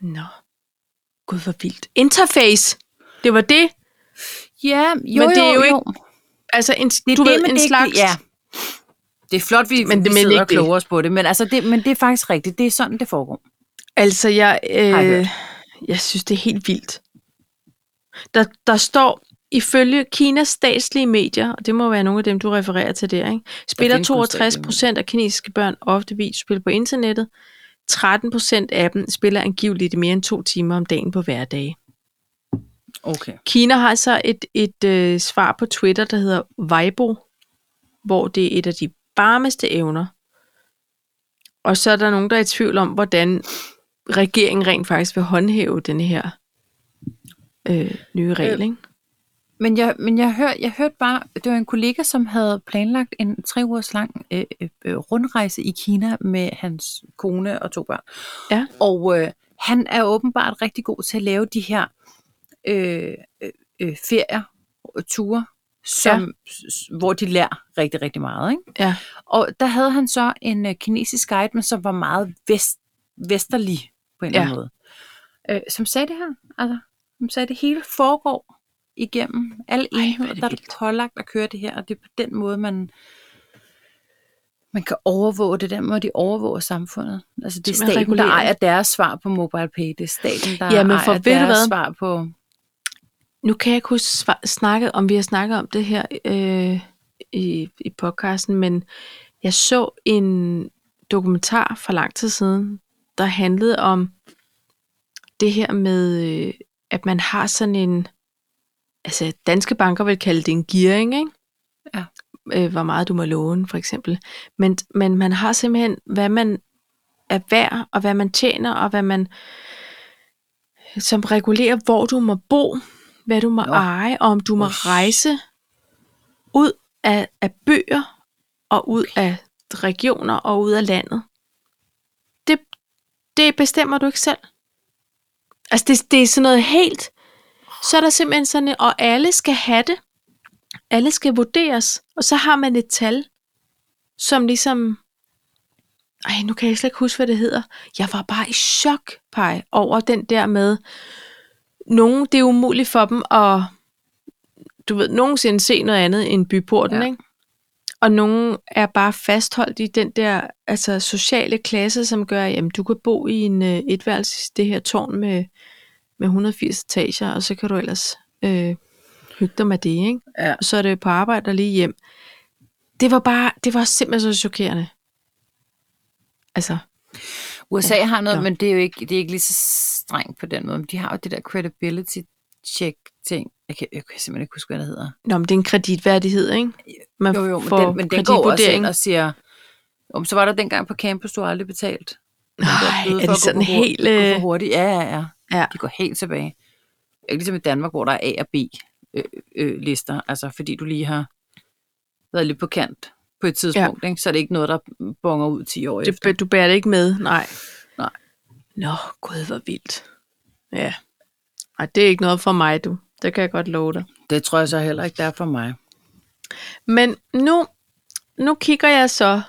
Speaker 1: Nå. Gud, hvor vildt. Interface. Det var det.
Speaker 2: Ja, jo,
Speaker 1: Men det er jo
Speaker 2: jo.
Speaker 1: ikke- Altså, en,
Speaker 2: Det er
Speaker 1: du
Speaker 2: det,
Speaker 1: ved,
Speaker 2: men
Speaker 1: en
Speaker 2: det er ikke-
Speaker 1: slags...
Speaker 2: ja. Det er flot, vi,
Speaker 1: Men
Speaker 2: men,
Speaker 1: det-
Speaker 2: vi
Speaker 1: men
Speaker 2: sidder
Speaker 1: ikke
Speaker 2: og kloger
Speaker 1: det.
Speaker 2: os på det, men, altså det, men det er faktisk rigtigt. Det er sådan, det foregår.
Speaker 1: Altså, jeg,
Speaker 2: jeg
Speaker 1: øh,
Speaker 2: hørt.
Speaker 1: jeg synes, det er helt vildt. Der, der står, ifølge Kinas statslige medier, og det må være nogle af dem, du refererer til der, ikke? spiller
Speaker 2: findes kun
Speaker 1: 62
Speaker 2: statslige
Speaker 1: procent af kinesiske børn ofte videospil på internettet. 13 procent af dem spiller angiveligt mere end to timer om dagen på hverdage.
Speaker 2: Okay.
Speaker 1: Kina har så et, et øh, svar på Twitter, der hedder Weibo, hvor det er et af de varmeste evner. Og så er der nogen, der er i tvivl om, hvordan regeringen rent faktisk vil håndhæve den her øh, nye regel. Ikke?
Speaker 2: Men jeg, men jeg, hør, jeg hørte bare, det var en kollega, som havde planlagt en tre ugers lang øh, øh, øh, rundrejse i Kina med hans kone og to børn.
Speaker 1: Ja.
Speaker 2: Og øh, han er åbenbart rigtig god til at lave de her øh, øh, øh, ferier og ture, som, ja. hvor de lærer rigtig, rigtig meget. Ikke?
Speaker 1: Ja.
Speaker 2: Og der havde han så en øh, kinesisk guide, men som var meget vest, vesterlig på en eller
Speaker 1: Ja.
Speaker 2: anden måde. Øh, som sagde det her. Altså, som sagde, det hele foregår igennem alle
Speaker 1: hvor er
Speaker 2: enheder.
Speaker 1: det
Speaker 2: Der er det
Speaker 1: vildt.
Speaker 2: pålagt at køre det her, og det er på den måde, man man kan overvåge det, den måde de overvåger samfundet. Altså det er
Speaker 1: Simpelthen
Speaker 2: staten, der
Speaker 1: regulering.
Speaker 2: ejer deres svar på MobilePay. Det er staten, der
Speaker 1: Ja, men for
Speaker 2: ejer
Speaker 1: ved du
Speaker 2: deres
Speaker 1: hvad?
Speaker 2: svar på...
Speaker 1: Nu kan jeg ikke huske sva- snakke, om vi har snakket om det her øh, i, i podcasten, men jeg så en dokumentar for lang tid siden, der handlede om det her med, øh, at man har sådan en, altså danske banker vil kalde det en gearing, ikke?
Speaker 2: Ja.
Speaker 1: Øh, hvor meget du må låne, for eksempel. Men, men man har simpelthen, hvad man er værd, og hvad man tjener, og hvad man, som regulerer, hvor du må bo, hvad du må
Speaker 2: Nå.
Speaker 1: Nå. eje, og om du må
Speaker 2: Uff.
Speaker 1: rejse ud af, af bøger, og ud af regioner, og ud af landet. Det, det bestemmer du ikke selv. Altså, det, det er sådan noget helt... Så er der simpelthen sådan, og alle skal have det. Alle skal vurderes. Og så har man et tal, som ligesom... Ej, nu kan jeg slet ikke huske, hvad det hedder. Jeg var bare i chok, Paj, over den der med... Nogen, det er umuligt for dem at... Du ved, nogensinde se noget andet end byporten,
Speaker 2: Ja.
Speaker 1: ja. ikke? Og nogen er bare fastholdt i den der altså, sociale klasse, som gør, at jamen, du kan bo i en øh, etværelse i det her tårn med, med 180 etager, og så kan du ellers øh, hygge dig med det, ikke?
Speaker 2: Ja.
Speaker 1: Og så er det på arbejde og lige hjem. Det var bare, det var simpelthen så chokerende. Altså,
Speaker 2: USA ja, har noget,
Speaker 1: nå.
Speaker 2: men det er jo ikke, det er ikke lige så strengt på den måde. Men de har jo det der credibility check ting. Jeg kan, jeg kan simpelthen ikke huske, hvad det hedder.
Speaker 1: nå, men det er en kreditværdighed, ikke? Man
Speaker 2: Jo, jo, men den, men den går også
Speaker 1: kreditvurdering.
Speaker 2: ind og siger, om så var der dengang på campus, du har aldrig betalt. Den der
Speaker 1: Nej,
Speaker 2: bøde
Speaker 1: er
Speaker 2: for
Speaker 1: det
Speaker 2: at gå
Speaker 1: sådan
Speaker 2: for hurtigt-
Speaker 1: helt,
Speaker 2: gå
Speaker 1: øh,
Speaker 2: for hurtigt? Ja, ja, ja.
Speaker 1: ja.
Speaker 2: De går helt tilbage. Ikke ligesom i Danmark, hvor der er A og B øh, øh, lister, altså fordi du lige har været lidt på kant på et tidspunkt, ja. ikke? så er det ikke noget, der bonger ud 10 år efter.
Speaker 1: Det, du bærer det ikke med, nej.
Speaker 2: Nej.
Speaker 1: Nå, gud, hvor vildt. Ja. Ej, det er ikke noget for mig, du. Det kan jeg godt love dig.
Speaker 2: Det tror jeg så heller ikke, der er for mig.
Speaker 1: Men nu, nu kigger jeg så.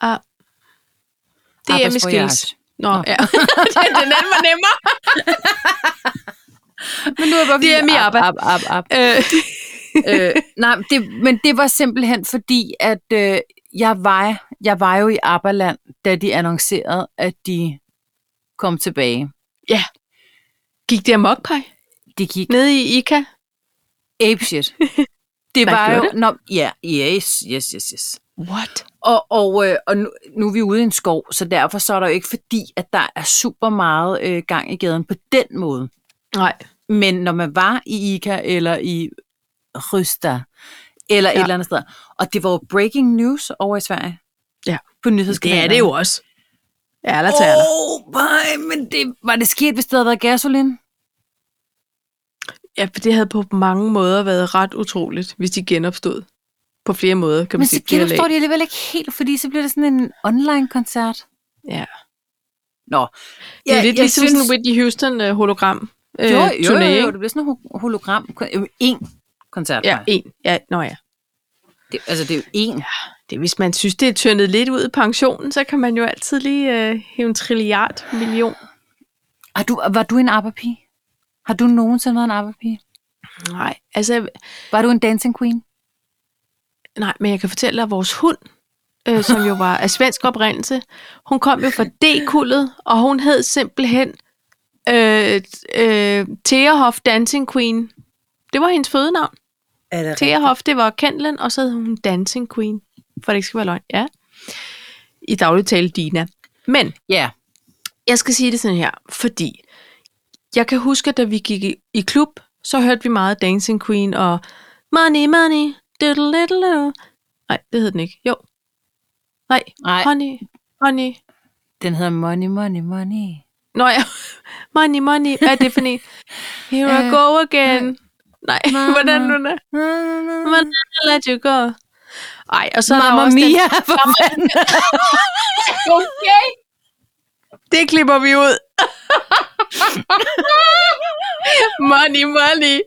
Speaker 1: Ah. Det er med skills. Nå,
Speaker 2: Nå.
Speaker 1: ja. den, den anden var nemmere.
Speaker 2: Men nu er bare
Speaker 1: Det er
Speaker 2: fordi-
Speaker 1: mit arbejde.
Speaker 2: Op, op, op, op.
Speaker 1: Øh,
Speaker 2: øh, nej, det, men det var simpelthen fordi, at øh, jeg, var, jeg var jo i Aberland, da de annoncerede, at de kom tilbage.
Speaker 1: gik det amok, Paj?
Speaker 2: De gik
Speaker 1: Nede i Ica?
Speaker 2: apeshit. Det
Speaker 1: Hvad
Speaker 2: var jo...
Speaker 1: gjorde
Speaker 2: Nå, ja, yes, yes, yes, yes.
Speaker 1: What?
Speaker 2: Og, og, øh, og nu, nu er vi ude i en skov, så derfor så er der jo ikke fordi, at der er super meget øh, gang i gaden på den måde.
Speaker 1: Nej.
Speaker 2: Men når man var i Ica eller i Rysta eller ja.
Speaker 1: Ja.
Speaker 2: et eller andet sted, og det var jo breaking news over i Sverige.
Speaker 1: Ja.
Speaker 2: På nyhedskanalerne.
Speaker 1: også. Ja, der tager oh.
Speaker 2: Åh, oh, nej, men det, var det sket, hvis det havde været gasolin?
Speaker 1: Ja, for det havde på mange måder været ret utroligt, hvis de genopstod. På flere måder, kan man
Speaker 2: Men
Speaker 1: sige.
Speaker 2: så
Speaker 1: flere lag.
Speaker 2: genopstår de alligevel ikke helt, fordi så bliver det sådan en online-koncert.
Speaker 1: Ja.
Speaker 2: Nå.
Speaker 1: Det er ja, lidt ligesom synes... sådan en Whitney Houston-hologram. Øh,
Speaker 2: jo, jo,
Speaker 1: turné,
Speaker 2: jo, jo,
Speaker 1: ikke?
Speaker 2: det bliver sådan en ho- hologram. jo, En koncert.
Speaker 1: Ja,
Speaker 2: Maja.
Speaker 1: en. Ja, nå ja.
Speaker 2: Det, altså, det er jo en.
Speaker 1: Det, er, hvis man synes, det er tyndet lidt ud i pensionen, så kan man jo altid lige øh, hæve en trilliard million.
Speaker 2: Har du, var du en arbejpige? Har du nogensinde været en arbejpige?
Speaker 1: Nej, altså,
Speaker 2: Var du en dancing queen?
Speaker 1: nej, men jeg kan fortælle dig, at vores hund, øh, som jo var af svensk oprindelse, hun kom jo fra D-kullet, og hun hed simpelthen øh, øh, Teerhoff Dancing Queen. Det var hendes fødenavn.
Speaker 2: Er det
Speaker 1: Teerhoff, det var Kendlen, og så hed hun Dancing Queen, for det ikke skal være løgn. Ja. I daglig tale Dina. Men
Speaker 2: Ja.
Speaker 1: jeg skal sige det sådan her, fordi jeg kan huske, at da vi gik i, i klub, så hørte vi meget Dancing Queen og Money, money, diddle, diddle, diddle. Nej, det hed den ikke. Jo. Nej,
Speaker 2: Nej,
Speaker 1: honey, honey.
Speaker 2: den hedder Money, Money, Money.
Speaker 1: Nå ja, money, money. Hvad er det for en? Here I
Speaker 2: Øh,
Speaker 1: go again. Nej,
Speaker 2: Mama.
Speaker 1: hvordan nu der? Hvordan let you go? Ej, og så er der
Speaker 2: Mamma
Speaker 1: også den-
Speaker 2: Mia, for fanden.
Speaker 1: Okay. Det klipper vi ud. money, money.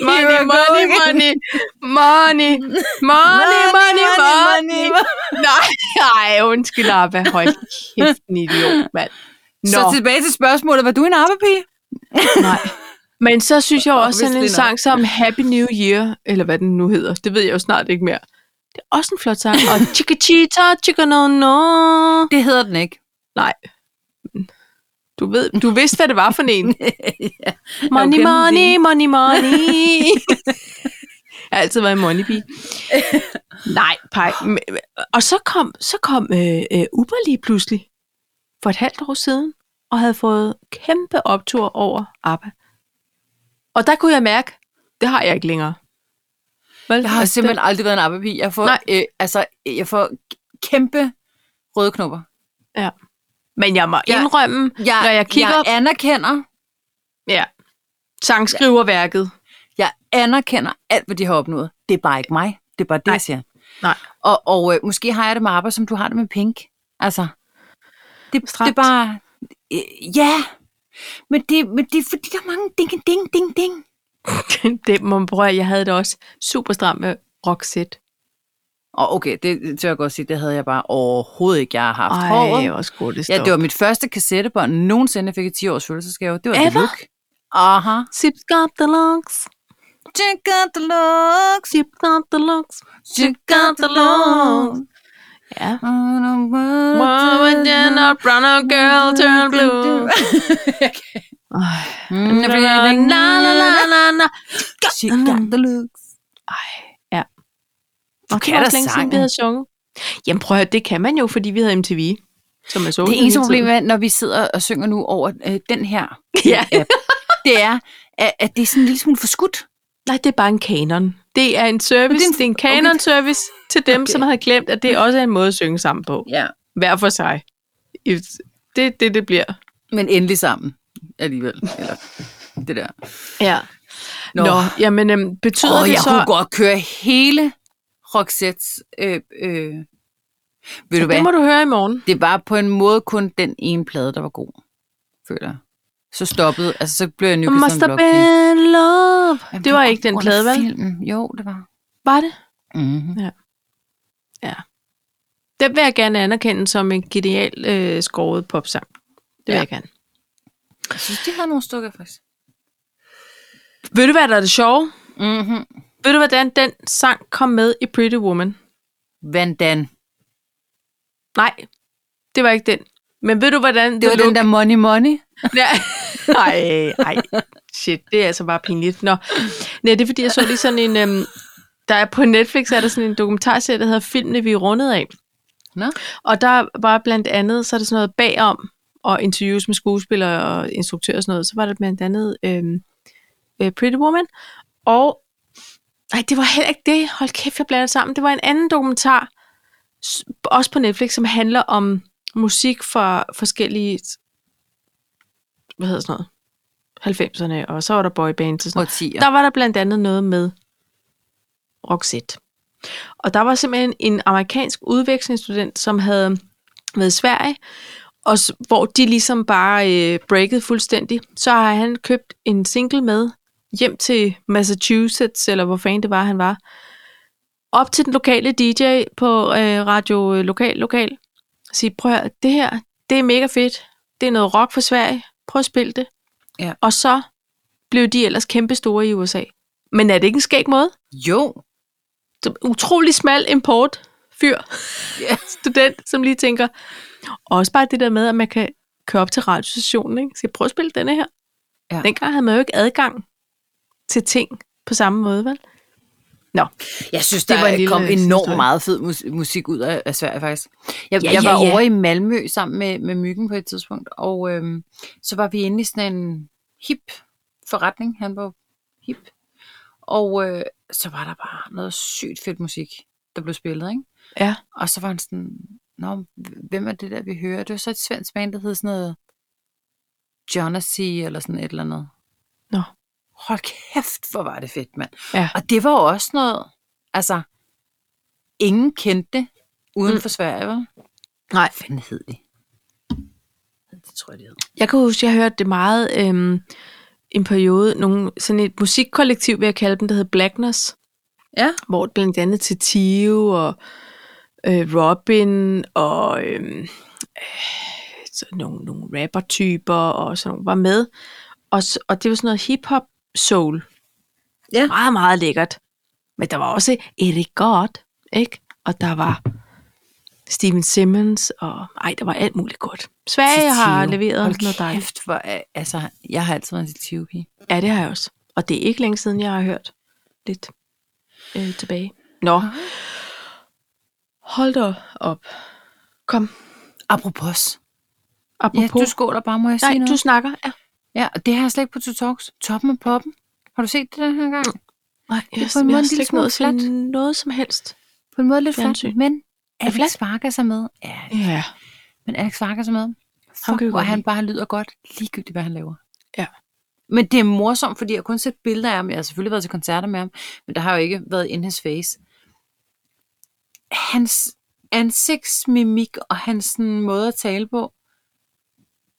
Speaker 1: Money,
Speaker 2: Here we go
Speaker 1: money,
Speaker 2: again.
Speaker 1: money, money, money, money, money. Nej, nej, undskyld, Abba. Hold kæft, en idiot, mand.
Speaker 2: Så
Speaker 1: Nå,
Speaker 2: tilbage til spørgsmålet. Var du en arbejpige?
Speaker 1: nej. Men så synes jeg også,
Speaker 2: Hvis
Speaker 1: sådan
Speaker 2: det
Speaker 1: en
Speaker 2: er nok.
Speaker 1: sang som Happy New Year, eller hvad den nu hedder, det ved jeg jo snart ikke mere. Det er også en flot sang. Og chicka chita, chicka no no.
Speaker 2: Det hedder den ikke.
Speaker 1: Du, ved, du vidste, hvad det var for en.
Speaker 2: ja.
Speaker 1: Money,
Speaker 2: Okay,
Speaker 1: money, money, money. jeg har altid været en money bee. Nej, pej. Men- Og så kom, så kom øh, øh, Uber lige pludselig for et halvt år siden, og havde fået kæmpe optur over ABBA. Og der kunne jeg mærke, det har jeg ikke længere. Vel?
Speaker 2: Jeg har
Speaker 1: Altså,
Speaker 2: simpelthen aldrig været en arbejpige. Jeg får,
Speaker 1: Nej.
Speaker 2: øh, altså, jeg får kæmpe røde knopper.
Speaker 1: det- Men jeg må
Speaker 2: Jeg-
Speaker 1: indrømme
Speaker 2: Jeg,
Speaker 1: Når jeg kigger-
Speaker 2: jeg anerkender,
Speaker 1: sangskriverværket.
Speaker 2: jeg anerkender alt, hvad de har opnået. Det er bare ikke mig. Det er bare det,
Speaker 1: Nej.
Speaker 2: jeg siger.
Speaker 1: Nej.
Speaker 2: Og, og øh, måske har jeg det med arbejde, som du har det med pink. Altså, det, det er
Speaker 1: Stramt.
Speaker 2: bare... Øh, ja, men det, men det er fordi, der er mange ding, ding, ding, ding.
Speaker 1: det må man prøve, at jeg havde det også super stramt med Roxette.
Speaker 2: Og okay, det, det tør jeg godt sige, det havde jeg bare overhovedet ikke. Jeg har haft håret.
Speaker 1: Ej, hvor skulle det stå.
Speaker 2: Ja, det var mit første kassettebånd nogensinde. Jeg fik et 10-års fødselsdagsgave. Det var
Speaker 1: Ever?
Speaker 2: det look. Aha.
Speaker 1: Sip got the looks.
Speaker 2: Check out the looks.
Speaker 1: Sip got the looks.
Speaker 2: Check out the looks.
Speaker 1: Ja. Mm.
Speaker 2: Mama
Speaker 1: brown a girl turn blue. Mm, Na, na, na, na, na.
Speaker 2: She got the looks.
Speaker 1: Og det
Speaker 2: kan
Speaker 1: var
Speaker 2: da
Speaker 1: også længe siden,
Speaker 2: sangen.
Speaker 1: vi havde sunget. Jamen prøv at høre, det kan man jo, fordi vi havde MTV. Som er så
Speaker 2: Det eneste problem er, når vi sidder og synger nu over øh, den her
Speaker 1: Ja.
Speaker 2: app, det er, at, at det er sådan en lille smule forskudt.
Speaker 1: Nej, det er bare en kanon. Det er en
Speaker 2: Men det
Speaker 1: service.
Speaker 2: er en-
Speaker 1: Det er en kanon-service til dem,
Speaker 2: Okay. Mm.
Speaker 1: som havde glemt, at det også er en måde at synge sammen på.
Speaker 2: Ja.
Speaker 1: Hver for sig. If- Det er det, det bliver.
Speaker 2: Men endelig sammen alligevel. Eller det der.
Speaker 1: Ja.
Speaker 2: Nå.
Speaker 1: Nå, Nå jamen, øhm, betyder
Speaker 2: Åh,
Speaker 1: det
Speaker 2: jeg
Speaker 1: så...
Speaker 2: kunne godt køre hele Roxettes... Øh, øh. Ved du
Speaker 1: Så
Speaker 2: hvad?
Speaker 1: det må du høre i morgen.
Speaker 2: Det var på en måde kun den ene plade, der var god, føler jeg. så stoppede, altså så blev jeg nykket
Speaker 1: Must
Speaker 2: som
Speaker 1: have been love.
Speaker 2: Jamen,
Speaker 1: Det var ikke den
Speaker 2: under
Speaker 1: plade, vel? Mhm.
Speaker 2: filmen. Jo, det var.
Speaker 1: Var det?
Speaker 2: Mm-hmm.
Speaker 1: Den vil jeg gerne anerkende som en genial øh, skåret popsang. Det vil
Speaker 2: Ja.
Speaker 1: jeg gerne.
Speaker 2: Jeg synes, de havde nogle stykker, faktisk.
Speaker 1: Ved du, hvad der er det sjove? Mhm.
Speaker 2: Mm-hmm.
Speaker 1: Ved du, hvordan den sang kom med i Pretty Woman?
Speaker 2: Van Dan.
Speaker 1: Nej, det var ikke den. Men ved du, hvordan...
Speaker 2: Det var den der Money Money.
Speaker 1: Ja. Ej, ej. Shit, det er altså bare pinligt. Nå. Nej, det er fordi, jeg så lige sådan en... Øhm, der er på Netflix, er der sådan en dokumentarserie, der hedder Filmene, vi er rundet af.
Speaker 2: Nå.
Speaker 1: Og der var blandt andet, så er der sådan noget bagom, og interviews med skuespillere og instruktører og sådan noget. Så var der blandt andet øhm, øh, Pretty Woman. Og... Nej, det var heller ikke det. Hold kæft, jeg blander det sammen. Det var en anden dokumentar, s- også på Netflix, som handler om musik fra forskellige hvad hedder sådan noget, 90'erne, og så var der boybands og sådan noget.
Speaker 2: Årtier.
Speaker 1: Der var der blandt andet noget med Roxette. Og der var simpelthen en amerikansk udvekslingsstudent, som havde været i Sverige, og s- hvor de ligesom bare øh, breakede fuldstændig. Så har han købt en single med hjem til Massachusetts, eller hvor fanden det var, han var. Op til den lokale DJ på øh, radio øh, lokal, lokal. Og sige, prøv at høre, det her, det er mega fedt. Det er noget rock fra Sverige. Prøv at spille det.
Speaker 2: Ja.
Speaker 1: Og så blev de ellers kæmpe store i USA. Men er det ikke en skæg måde?
Speaker 2: Jo.
Speaker 1: Så Utrolig smal import fyr,
Speaker 2: Ja.
Speaker 1: student, som lige tænker. Og også bare det der med, at man kan køre op til radiostationen, ikke? Så jeg prøver at spille denne her.
Speaker 2: Ja.
Speaker 1: Dengang havde man jo ikke adgang til ting på samme måde, vel?
Speaker 2: Jeg synes,
Speaker 1: Det
Speaker 2: der
Speaker 1: var en
Speaker 2: det
Speaker 1: lille
Speaker 2: kom enormt
Speaker 1: historie.
Speaker 2: meget fed mus- musik ud af, af Sverige, faktisk. Jeg,
Speaker 1: Ja,
Speaker 2: ja, jeg
Speaker 1: ja,
Speaker 2: var
Speaker 1: ja.
Speaker 2: ja. over i Malmø sammen med, med Myggen på et tidspunkt, og øhm, så var vi inde i sådan en hip forretning. Han var hip. Og øh, så var der bare noget sygt fedt musik, der blev spillet, ikke?
Speaker 1: Ja.
Speaker 2: Og så var han sådan, Nå, hvem er det der, vi hører? Det var så et svensk band, der hed sådan noget Jonassi eller sådan et eller andet.
Speaker 1: Nå.
Speaker 2: Hold kæft, hvor var det fedt, mand.
Speaker 1: Ja.
Speaker 2: Og det var jo også noget, altså, ingen kendte det uden
Speaker 1: Mm.
Speaker 2: mm. for Sverige, vel?
Speaker 1: Nej.
Speaker 2: Hvad fanden hed de? Det tror jeg, de hed.
Speaker 1: Jeg kan huske, jeg hørte det meget øhm, en periode, nogle, sådan et musikkollektiv, vil jeg kalde dem, der hed Blackness.
Speaker 2: Ja.
Speaker 1: Hvor blandt andet til Tio og øh, Robin og øhm, øh, sådan nogle, nogle rapper-typer og sådan nogle var med. Og, s- og det var sådan noget hip-hop soul.
Speaker 2: Ja.
Speaker 1: Meget, meget lækkert. Men der var også Erik Godt, ikke? Og der var Steven Simmons, og ej, der var alt muligt godt. Sverige har
Speaker 2: Tio.
Speaker 1: leveret
Speaker 2: Hold
Speaker 1: noget dejligt.
Speaker 2: kæft, hvor, er- altså, jeg har altid været en til pige.
Speaker 1: Ja, det har jeg også. Og det er ikke længe siden, jeg har hørt lidt øh, tilbage. Nå. Hold da op. Kom.
Speaker 2: Apropos. Ja,
Speaker 1: Apropos.
Speaker 2: du skåler bare, må jeg sige
Speaker 1: Nej,
Speaker 2: noget?
Speaker 1: du snakker. Ja.
Speaker 2: Ja, og det har jeg slet ikke på To Talks. Toppen og poppen. Har du set det den her gang?
Speaker 1: Nej, jeg,
Speaker 2: på en
Speaker 1: jeg, jeg,
Speaker 2: måde
Speaker 1: har
Speaker 2: en
Speaker 1: slet
Speaker 2: lille
Speaker 1: ikke noget at
Speaker 2: smule
Speaker 1: sige noget som helst.
Speaker 2: På en måde lidt flat,
Speaker 1: Fjernsyn.
Speaker 2: men Alex
Speaker 1: flat?
Speaker 2: Vargas er med. Ja,
Speaker 1: Ja.
Speaker 2: men Alex Vargas er med.
Speaker 1: kan vi
Speaker 2: Fuck, hvor
Speaker 1: godt
Speaker 2: han
Speaker 1: lide.
Speaker 2: bare lyder godt, ligegyldigt hvad han laver.
Speaker 1: Ja.
Speaker 2: Men det er morsomt, fordi jeg har kun set billeder af ham. Jeg har selvfølgelig været til koncerter med ham, men der har jo ikke været in his face. Hans ansigtsmimik og hans sådan, måde at tale på,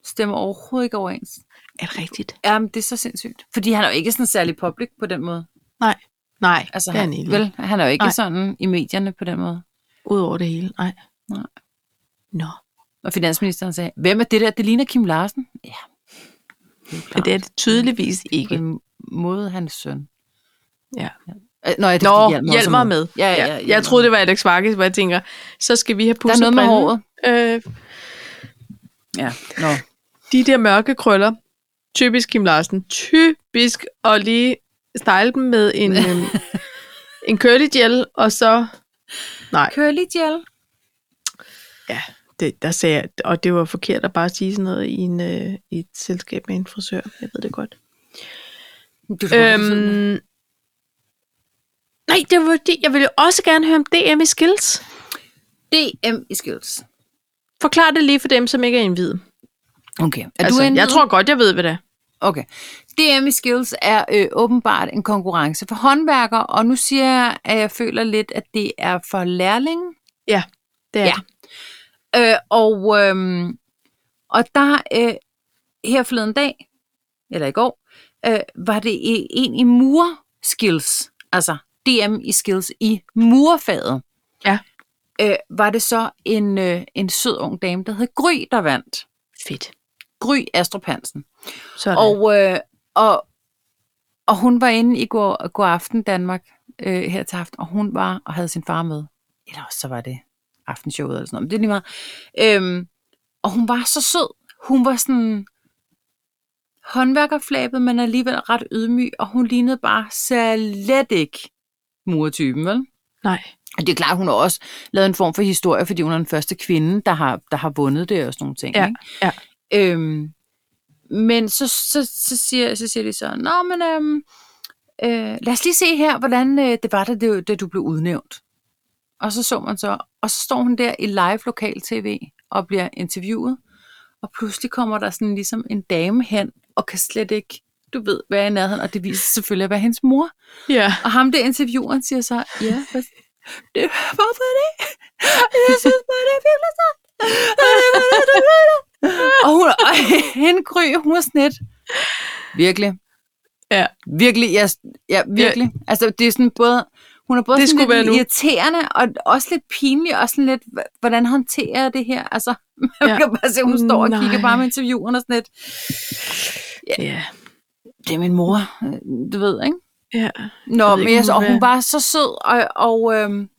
Speaker 2: stemmer overhovedet ikke overens.
Speaker 1: Er det rigtigt?
Speaker 2: Jamen, det er så sindssygt. Fordi han er jo ikke sådan særlig public på den måde.
Speaker 1: Nej. Nej,
Speaker 2: Altså,
Speaker 1: det er
Speaker 2: han,
Speaker 1: han ikke. Vel?
Speaker 2: vel, han er jo ikke
Speaker 1: Nej.
Speaker 2: Nej. sådan i medierne på den måde.
Speaker 1: Udover det hele. Nej.
Speaker 2: Nej.
Speaker 1: Nå.
Speaker 2: Og finansministeren sagde, hvem er det der? Det ligner Kim Larsen. Ja.
Speaker 1: Men det er det tydeligvis
Speaker 2: På
Speaker 1: ikke.
Speaker 2: en måde hans søn.
Speaker 1: Ja.
Speaker 2: Øh, Nå, ja, det er,
Speaker 1: Nå,
Speaker 2: fordi Hjalmar også er
Speaker 1: hjælp mig med.
Speaker 2: Ja, ja, ja,
Speaker 1: Jeg troede, det var Alex Vargas, hvor jeg tænker, så skal vi have
Speaker 2: Der
Speaker 1: pusset
Speaker 2: er noget med håret.
Speaker 1: Øh,
Speaker 2: Ja. Nå.
Speaker 1: de der mørke krøller, typisk Kim Larsen, typisk at lige style dem med en, øhm, en curly gel, og så, nej,
Speaker 2: Curly gel.
Speaker 1: det, der sagde jeg, og det var forkert at bare sige sådan noget i, en, øh, i et selskab med en frisør, jeg ved det godt.
Speaker 2: Du, øhm,
Speaker 1: Øhm, nej, det var det, jeg ville også gerne høre om DM i skills.
Speaker 2: DM i skills.
Speaker 1: Forklar det lige for dem, som ikke er indvidet.
Speaker 2: Okay. Er
Speaker 1: Altså,
Speaker 2: du en
Speaker 1: jeg tror godt, jeg ved, hvad det er.
Speaker 2: Okay. DM i skills er øh, åbenbart en konkurrence for håndværkere, og nu siger jeg, at jeg føler lidt, at det er for lærlinge.
Speaker 1: Det er
Speaker 2: Ja.
Speaker 1: det.
Speaker 2: Øh, og, øhm, og der øh, her forleden dag, eller i går, øh, var det i- en i murskills, altså DM i skills i murfaget.
Speaker 1: Ja.
Speaker 2: Øh, var det så en, øh, en sød ung dame, der hed Gry, der vandt.
Speaker 1: Fedt.
Speaker 2: Gry Astrup Hansen.
Speaker 1: Sådan. Og
Speaker 2: Og, øh, og, og hun var inde i går, går aften Danmark øh, her til aften, og hun var og havde sin far med. Eller også så var det aftenshowet eller sådan noget, men det er lige meget. Øhm, og hun var så sød. Hun var sådan håndværkerflabet, men alligevel ret ydmyg, og hun lignede bare slet ikke murtypen, vel?
Speaker 1: nej.
Speaker 2: Og det er klart, hun har også lavet en form for historie, fordi hun er den første kvinde, der har, der har vundet det og sådan nogle ting.
Speaker 1: Ja,
Speaker 2: ikke? Øhm, men så, så, så, siger, så siger de så, Nå, men øhm, øh, lad os lige se her, hvordan øh, det var, da, det, da du blev udnævnt. Og så så man så, og så står hun der i live lokal tv og bliver interviewet, og pludselig kommer der sådan ligesom en dame hen, og kan slet ikke, du ved, hvad er i nærheden, og det viser sig selvfølgelig at være hendes mor.
Speaker 1: Ja.
Speaker 2: Og ham der intervieweren siger så, ja, hvad, det, hvorfor det? Jeg synes bare, det er virkelig sådan. og hun, og hende gry, hun er snet. Virkelig.
Speaker 1: Ja.
Speaker 2: Virkelig, ja, ja virkelig. Ja. Altså, det er sådan både, hun er både
Speaker 1: Det
Speaker 2: sådan
Speaker 1: skulle være
Speaker 2: lidt
Speaker 1: nu.
Speaker 2: irriterende, og også lidt pinlig, og sådan lidt, hva- hvordan håndterer jeg det her? Altså, man
Speaker 1: Ja.
Speaker 2: ja. kan bare se, hun står og
Speaker 1: Nej.
Speaker 2: kigger bare med intervieweren og sådan lidt,
Speaker 1: Ja.
Speaker 2: det er min mor, øh, du ved, ikke?
Speaker 1: ja.
Speaker 2: Nå,
Speaker 1: ved
Speaker 2: men
Speaker 1: ikke, om hun
Speaker 2: jeg, og hun
Speaker 1: vil-
Speaker 2: var så sød, og, og øhm,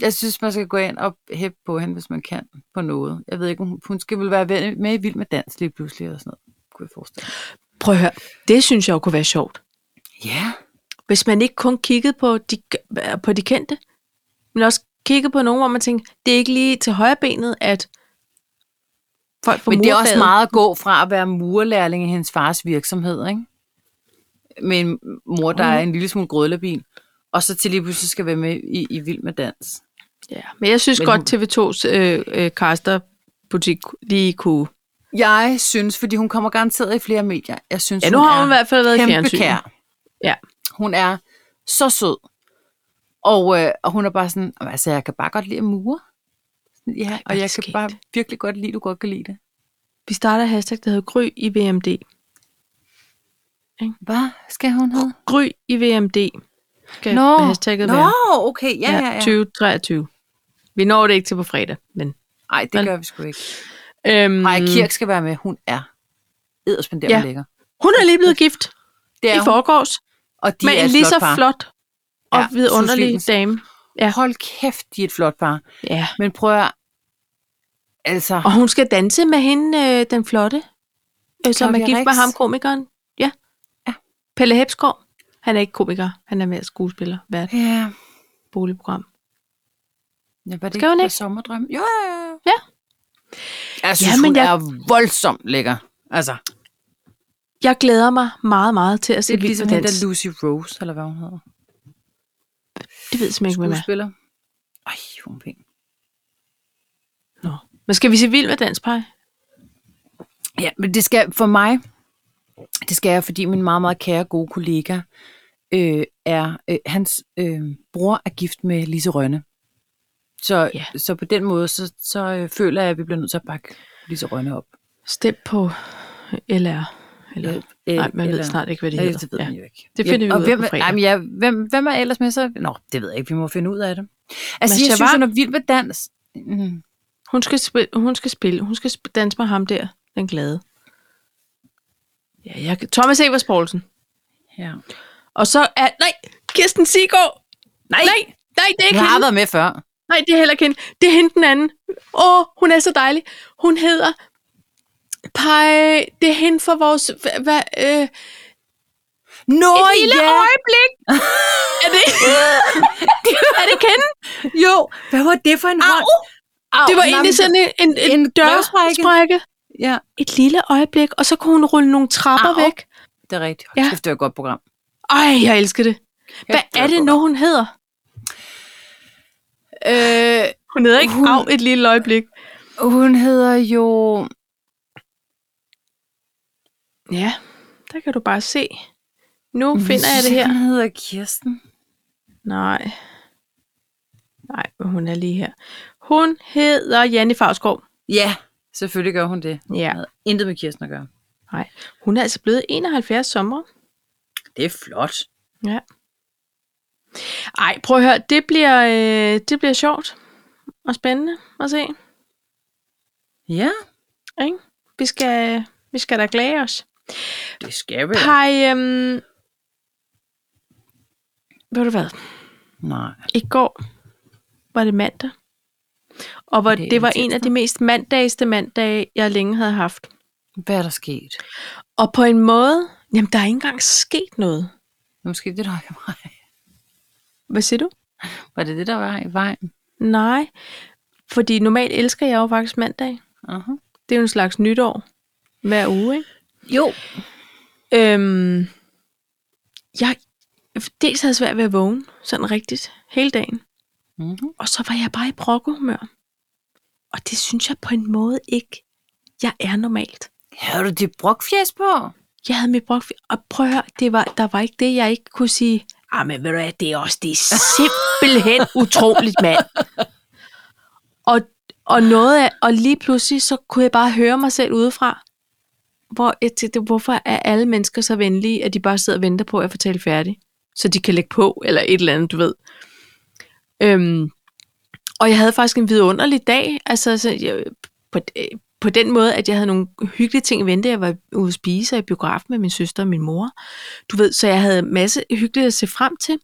Speaker 2: jeg synes, man skal gå ind og hæppe på hende, hvis man kan, på noget. Jeg ved ikke, hun, hun skal vel være ven- med i Vild med Dans lige pludselig, og sådan noget, kunne jeg forestille mig.
Speaker 1: Prøv at høre. Det synes jeg jo kunne være sjovt.
Speaker 2: Ja.
Speaker 1: Hvis man ikke kun kiggede på de, på de kendte, men også kiggede på nogen, hvor man tænkte, det er ikke lige til højre benet, at folk får
Speaker 2: Men det er også
Speaker 1: murfaget.
Speaker 2: meget at gå fra at være murlærling i hendes fars virksomhed, ikke? Med en mor, der er en lille smule grødlebin, og så til lige pludselig skal være med i, i Vild med Dans.
Speaker 1: Ja. Men jeg synes
Speaker 2: Men
Speaker 1: men godt, TV2's øh, øh, casterbutik lige kunne...
Speaker 2: Jeg synes, fordi hun kommer garanteret i flere medier, jeg synes,
Speaker 1: Ja, nu
Speaker 2: hun
Speaker 1: har
Speaker 2: er
Speaker 1: hun i hvert fald været i
Speaker 2: kæmpe
Speaker 1: fjernsynet.
Speaker 2: kær.
Speaker 1: Ja.
Speaker 2: Hun er så sød. Og, øh, og hun er bare sådan, "Jamen, altså jeg kan bare godt lide at mure. Ja,
Speaker 1: hvor er
Speaker 2: og
Speaker 1: det
Speaker 2: jeg kan
Speaker 1: skægt."
Speaker 2: bare virkelig godt lide, du godt kan lide det.
Speaker 1: Vi starter hashtag, der hedder Gry i VMD.
Speaker 2: Hvad skal hun hedde?
Speaker 1: Gry i VMD skal
Speaker 2: Nå,
Speaker 1: hashtagget
Speaker 2: Nå,
Speaker 1: være.
Speaker 2: okay, ja, ja, ja.
Speaker 1: 2023. Vi når det ikke til på fredag, men...
Speaker 2: Nej, det
Speaker 1: Men-
Speaker 2: gør vi sgu ikke.
Speaker 1: Øhm,
Speaker 2: Nej, Kirk skal være med, hun er edderspenderet
Speaker 1: Ja.
Speaker 2: ja. lækker.
Speaker 1: Hun er lige blevet gift
Speaker 2: Det
Speaker 1: ja,
Speaker 2: er
Speaker 1: i
Speaker 2: hun,
Speaker 1: forgårs,
Speaker 2: og de
Speaker 1: med
Speaker 2: er
Speaker 1: en
Speaker 2: et
Speaker 1: lige
Speaker 2: flot
Speaker 1: så
Speaker 2: par.
Speaker 1: flot og
Speaker 2: Ja,
Speaker 1: ja, vidunderlig
Speaker 2: Sofie.
Speaker 1: dame. Ja.
Speaker 2: Hold kæft, de er et flot par.
Speaker 1: ja.
Speaker 2: Men prøv at, altså,
Speaker 1: Og hun skal danse med hende, øh, den flotte, øh, som
Speaker 2: Claudia
Speaker 1: er gift med
Speaker 2: Rix.
Speaker 1: ham, komikeren. Ja.
Speaker 2: Ja.
Speaker 1: Pelle Hepsgaard. Han er ikke komiker, han er mere skuespiller, hvert
Speaker 2: ja,
Speaker 1: boligprogram.
Speaker 2: ja var det
Speaker 1: Skal hun
Speaker 2: ikke,
Speaker 1: ikke?
Speaker 2: sommerdrøm? Jo, ja, ja.
Speaker 1: Ja.
Speaker 2: Jeg synes, ja,
Speaker 1: men
Speaker 2: men hun
Speaker 1: jeg-
Speaker 2: jeg... er voldsomt lækker. Altså,
Speaker 1: Jeg glæder mig meget, meget til at se
Speaker 2: Det er
Speaker 1: Vild
Speaker 2: ligesom
Speaker 1: med
Speaker 2: hende
Speaker 1: Dans.
Speaker 2: der Lucy Rose, eller hvad hun hedder.
Speaker 1: Det ved jeg simpelthen ikke, hvem er.
Speaker 2: Skuespiller. Ej, hun er pæn.
Speaker 1: Men skal vi se Vild med Dans, Paj?
Speaker 2: Ja, men det skal for mig, det skal jeg, fordi min meget, meget kære gode kollega, øh, er, øh, hans øh, bror er gift med Lise Rønne. Så,
Speaker 1: Ja.
Speaker 2: ja. så på den måde, så, så øh, føler jeg, at vi bliver nødt til at bakke Lise Rønne op.
Speaker 1: Stem på LR. Eller,
Speaker 2: Øh,
Speaker 1: nej, man ved snart ikke, hvad det
Speaker 2: Nej,
Speaker 1: hedder.
Speaker 2: Øh, det ved man jo ikke.
Speaker 1: Det finder vi
Speaker 2: og
Speaker 1: ud af
Speaker 2: hvem,
Speaker 1: på fredag.
Speaker 2: Ej, men ja, hvem, hvem er ellers med så? Nå, det ved jeg ikke. Vi må finde ud af det. Altså,
Speaker 1: Masha
Speaker 2: jeg synes,
Speaker 1: Vang?
Speaker 2: hun er vild med dans. Mm.
Speaker 1: Hun skal, spille, hun skal spille. Hun skal sp- danse med ham der, den glade. Ja, jeg, kan- Thomas Evers Poulsen.
Speaker 2: Ja.
Speaker 1: Og så er... Nej, Kirsten Sigård!
Speaker 2: Nej!
Speaker 1: Nej, nej, det er
Speaker 2: Hun
Speaker 1: ikke
Speaker 2: har
Speaker 1: hende.
Speaker 2: været med før.
Speaker 1: Nej, det er heller ikke hende. Det er hende den anden. Åh, hun er så dejlig. Hun hedder... Pej, det er hende for vores... Hva, hva, øh,
Speaker 2: Nå,
Speaker 1: et lille øjeblik! er det Er det ikke hende?
Speaker 2: Jo, hvad var det for en
Speaker 1: Au!
Speaker 2: hånd? Au,
Speaker 1: Det var
Speaker 2: nej,
Speaker 1: egentlig
Speaker 2: men-
Speaker 1: sådan en, en, en,
Speaker 2: en
Speaker 1: en dørsprække.
Speaker 2: Ja,
Speaker 1: Et lille øjeblik, og så kunne hun rulle nogle trapper
Speaker 2: Au.
Speaker 1: væk.
Speaker 2: det er rigtigt.
Speaker 1: Ja.
Speaker 2: Ja. Kæft, det var et godt program.
Speaker 1: Ej, jeg elsker det. Hvad
Speaker 2: Kæft,
Speaker 1: er det
Speaker 2: et
Speaker 1: nu,
Speaker 2: godt
Speaker 1: hun hedder? Øh,
Speaker 2: program.
Speaker 1: Hun hedder ikke
Speaker 2: Hun-
Speaker 1: Av et lille øjeblik.
Speaker 2: Øh, hun hedder jo...
Speaker 1: Ja, der kan du bare se. Nu finder jeg det her.
Speaker 2: Hun hedder Kirsten.
Speaker 1: Nej. Nej, men hun er lige her. Hun hedder Janne Favsgaard.
Speaker 2: Ja, selvfølgelig gør hun det.
Speaker 1: Ja.
Speaker 2: Hun havde Intet med Kirsten at gøre.
Speaker 1: Nej, hun er altså blevet 71 sommer.
Speaker 2: Det er flot.
Speaker 1: Ja. Ej, prøv at høre, det bliver, øh, det bliver sjovt og spændende at se.
Speaker 2: Ja,
Speaker 1: Ikke? Vi, skal, vi skal da glæde os.
Speaker 2: det skal vi.
Speaker 1: Pej, øhm, ved du hvad?
Speaker 2: Nej.
Speaker 1: I går var det mandag. Og var,
Speaker 2: Det er
Speaker 1: det, det var
Speaker 2: intenst,
Speaker 1: en af de mest mandagste mandage, jeg længe havde haft.
Speaker 2: Hvad er der sket?
Speaker 1: Og på en måde, jamen der er ikke engang sket noget.
Speaker 2: Måske det, der var i vejen.
Speaker 1: Hvad siger du?
Speaker 2: Var det det, der var i vejen?
Speaker 1: Nej, fordi normalt elsker jeg jo faktisk mandag.
Speaker 2: Uh-huh.
Speaker 1: Det er jo en slags nytår hver uge, ikke?
Speaker 2: Jo.
Speaker 1: Øhm, jeg dels havde svært ved at vågne, sådan rigtigt, hele dagen.
Speaker 2: Mm-hmm.
Speaker 1: Og så var jeg bare i brokkehumør. Og det synes jeg på en måde ikke, jeg er normalt.
Speaker 2: Har du dit brokfjæs på?
Speaker 1: Jeg havde mit brok, og prøv at høre, det var, der var ikke det, jeg ikke kunne sige. Ah, men ved du hvad, det er også, det er simpelthen utroligt, mand. Og, og noget af, og lige pludselig, så kunne jeg bare høre mig selv udefra, hvor jeg tænkte, hvorfor er alle mennesker så venlige, at de bare sidder og venter på, at jeg fortæller færdig, så de kan lægge på, eller et eller andet, du ved. Øhm, og jeg havde faktisk en vidunderlig dag, altså så jeg, på, øh, på den måde, at jeg havde nogle hyggelige ting i vente. Jeg var ude at spise og i biografen med min søster og min mor. Du ved, så jeg havde en masse hyggeligt at se frem til.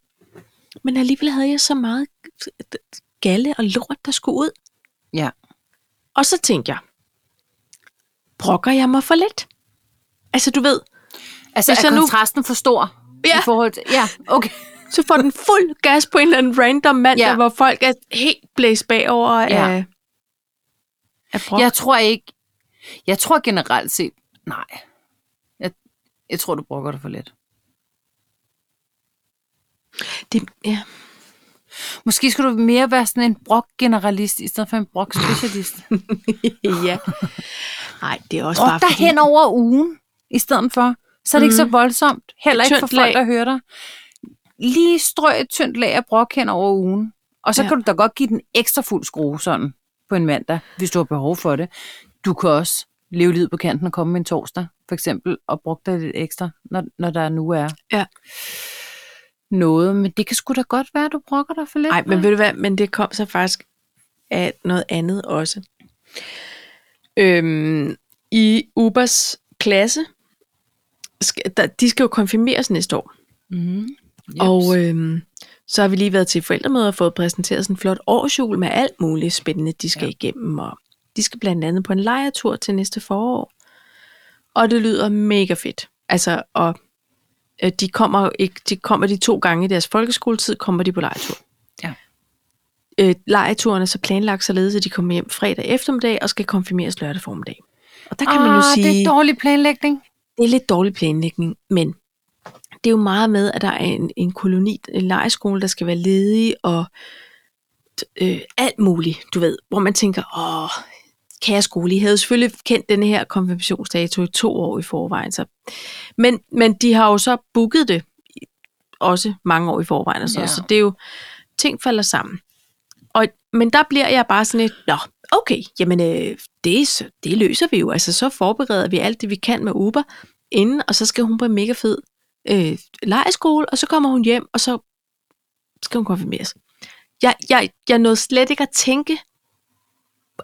Speaker 1: Men alligevel havde jeg så meget galle og lort, der skulle ud.
Speaker 2: Ja.
Speaker 1: Og så tænkte jeg, brokker jeg mig for lidt? Altså du ved,
Speaker 2: Altså,
Speaker 1: Hvis
Speaker 2: er
Speaker 1: jeg nu-
Speaker 2: kontrasten for stor?
Speaker 1: Ja.
Speaker 2: I forhold til... Ja, okay.
Speaker 1: så får den fuld gas på en eller anden random mand,
Speaker 2: Ja.
Speaker 1: ja. hvor folk er helt blæst bagover af,
Speaker 2: Ja.
Speaker 1: ja. af brok.
Speaker 2: Jeg tror ikke... Jeg tror generelt set... Nej. Jeg, jeg tror, du brokker dig for lidt.
Speaker 1: Det, ja.
Speaker 2: Måske skal du mere være sådan en brok-generalist, i stedet for en brok-specialist.
Speaker 1: ja. Nej, det er også
Speaker 2: Brok
Speaker 1: Altså bare Mhm.
Speaker 2: dig hen over ugen, i stedet for. Så er det mm. ikke så voldsomt. Heller ikke for
Speaker 1: Tyndt
Speaker 2: folk,
Speaker 1: lag.
Speaker 2: der hører dig. Lige strø et tyndt lag af brok hen over ugen. Og så ja.
Speaker 1: Ja.
Speaker 2: kan du da godt give den ekstra fuld skrue sådan på en mandag, hvis du har behov for det. Du kan også leve livet på kanten og komme en torsdag, for eksempel, og bruge dig lidt ekstra, når, når der nu er
Speaker 1: Ja.
Speaker 2: noget. Men det kan sgu da godt være, at du brokker dig for lidt.
Speaker 1: Nej, men
Speaker 2: hva'?
Speaker 1: ved du hvad, men det kom så faktisk af noget andet også. Øhm, I Ubers klasse, sk- der, de skal jo konfirmeres næste år,
Speaker 2: Mhm. Jeps.
Speaker 1: og øhm, så har vi lige været til forældremøder og fået præsenteret sådan en flot årsjul med alt muligt spændende, de skal ja. igennem, og de skal blandt andet på en lejetur til næste forår, og det lyder mega fedt. Altså, og øh, de kommer jo ikke, de kommer de to gange i deres folkeskoletid, kommer de på lejetur øh, lejeturen er så planlagt således, at de kommer hjem fredag eftermiddag og skal konfirmeres lørdag formiddag. Og der kan man jo
Speaker 2: Ah,
Speaker 1: sige,
Speaker 2: det er dårlig planlægning.
Speaker 1: det er lidt dårlig planlægning, men det er jo meget med, at der er en, en koloni, en lejeskole, der skal være ledig og øh, alt muligt, du ved, hvor man tænker, åh, kære skole, I havde jo selvfølgelig kendt den her konfirmationsdato i to år i forvejen. Så. Men, men de har jo så booket det i- også mange år i forvejen, og så,
Speaker 2: Ja.
Speaker 1: ja. så det er jo, ting falder sammen. Og, men der bliver jeg bare sådan lidt, nå, okay, jamen øh, det, er så- det løser vi jo. Altså så forbereder vi alt det, vi kan med Uber inden, og så skal hun på en mega fed øh, lejeskole, og så kommer hun hjem, og så skal hun konfirmeres. Jeg, jeg, jeg nåede slet ikke at tænke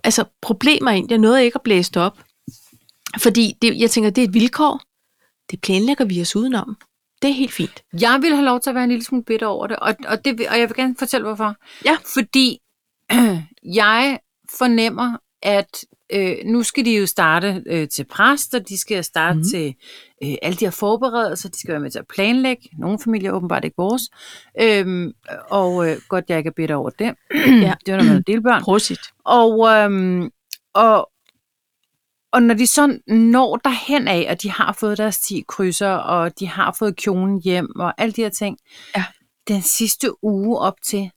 Speaker 1: altså, problemer ind. Jeg nåede ikke at blæse det op. Fordi det, jeg tænker, det er et vilkår. Det planlægger vi os udenom. Det er helt fint.
Speaker 2: Jeg vil have lov til at være en lille smule bitter over det, og, og, det, vil- og jeg vil gerne fortælle, hvorfor.
Speaker 1: Ja.
Speaker 2: Fordi jeg fornemmer, at øh, nu skal de jo starte øh, til præst, og de skal starte mm.
Speaker 1: Mhm.
Speaker 2: til øh, alle de her forberedelser, de skal være med til at planlægge. Nogle familier er åbenbart ikke vores. Øhm, og øh, godt, jeg ikke er bitter over det. ja. Det var, når man er delbørn.
Speaker 1: Prosit.
Speaker 2: Og, øhm, og, og når de så når derhen af, og de har fået deres 10 krydser, og de har fået kjolen hjem, og alle de her ting,
Speaker 1: Ja.
Speaker 2: den sidste uge op til,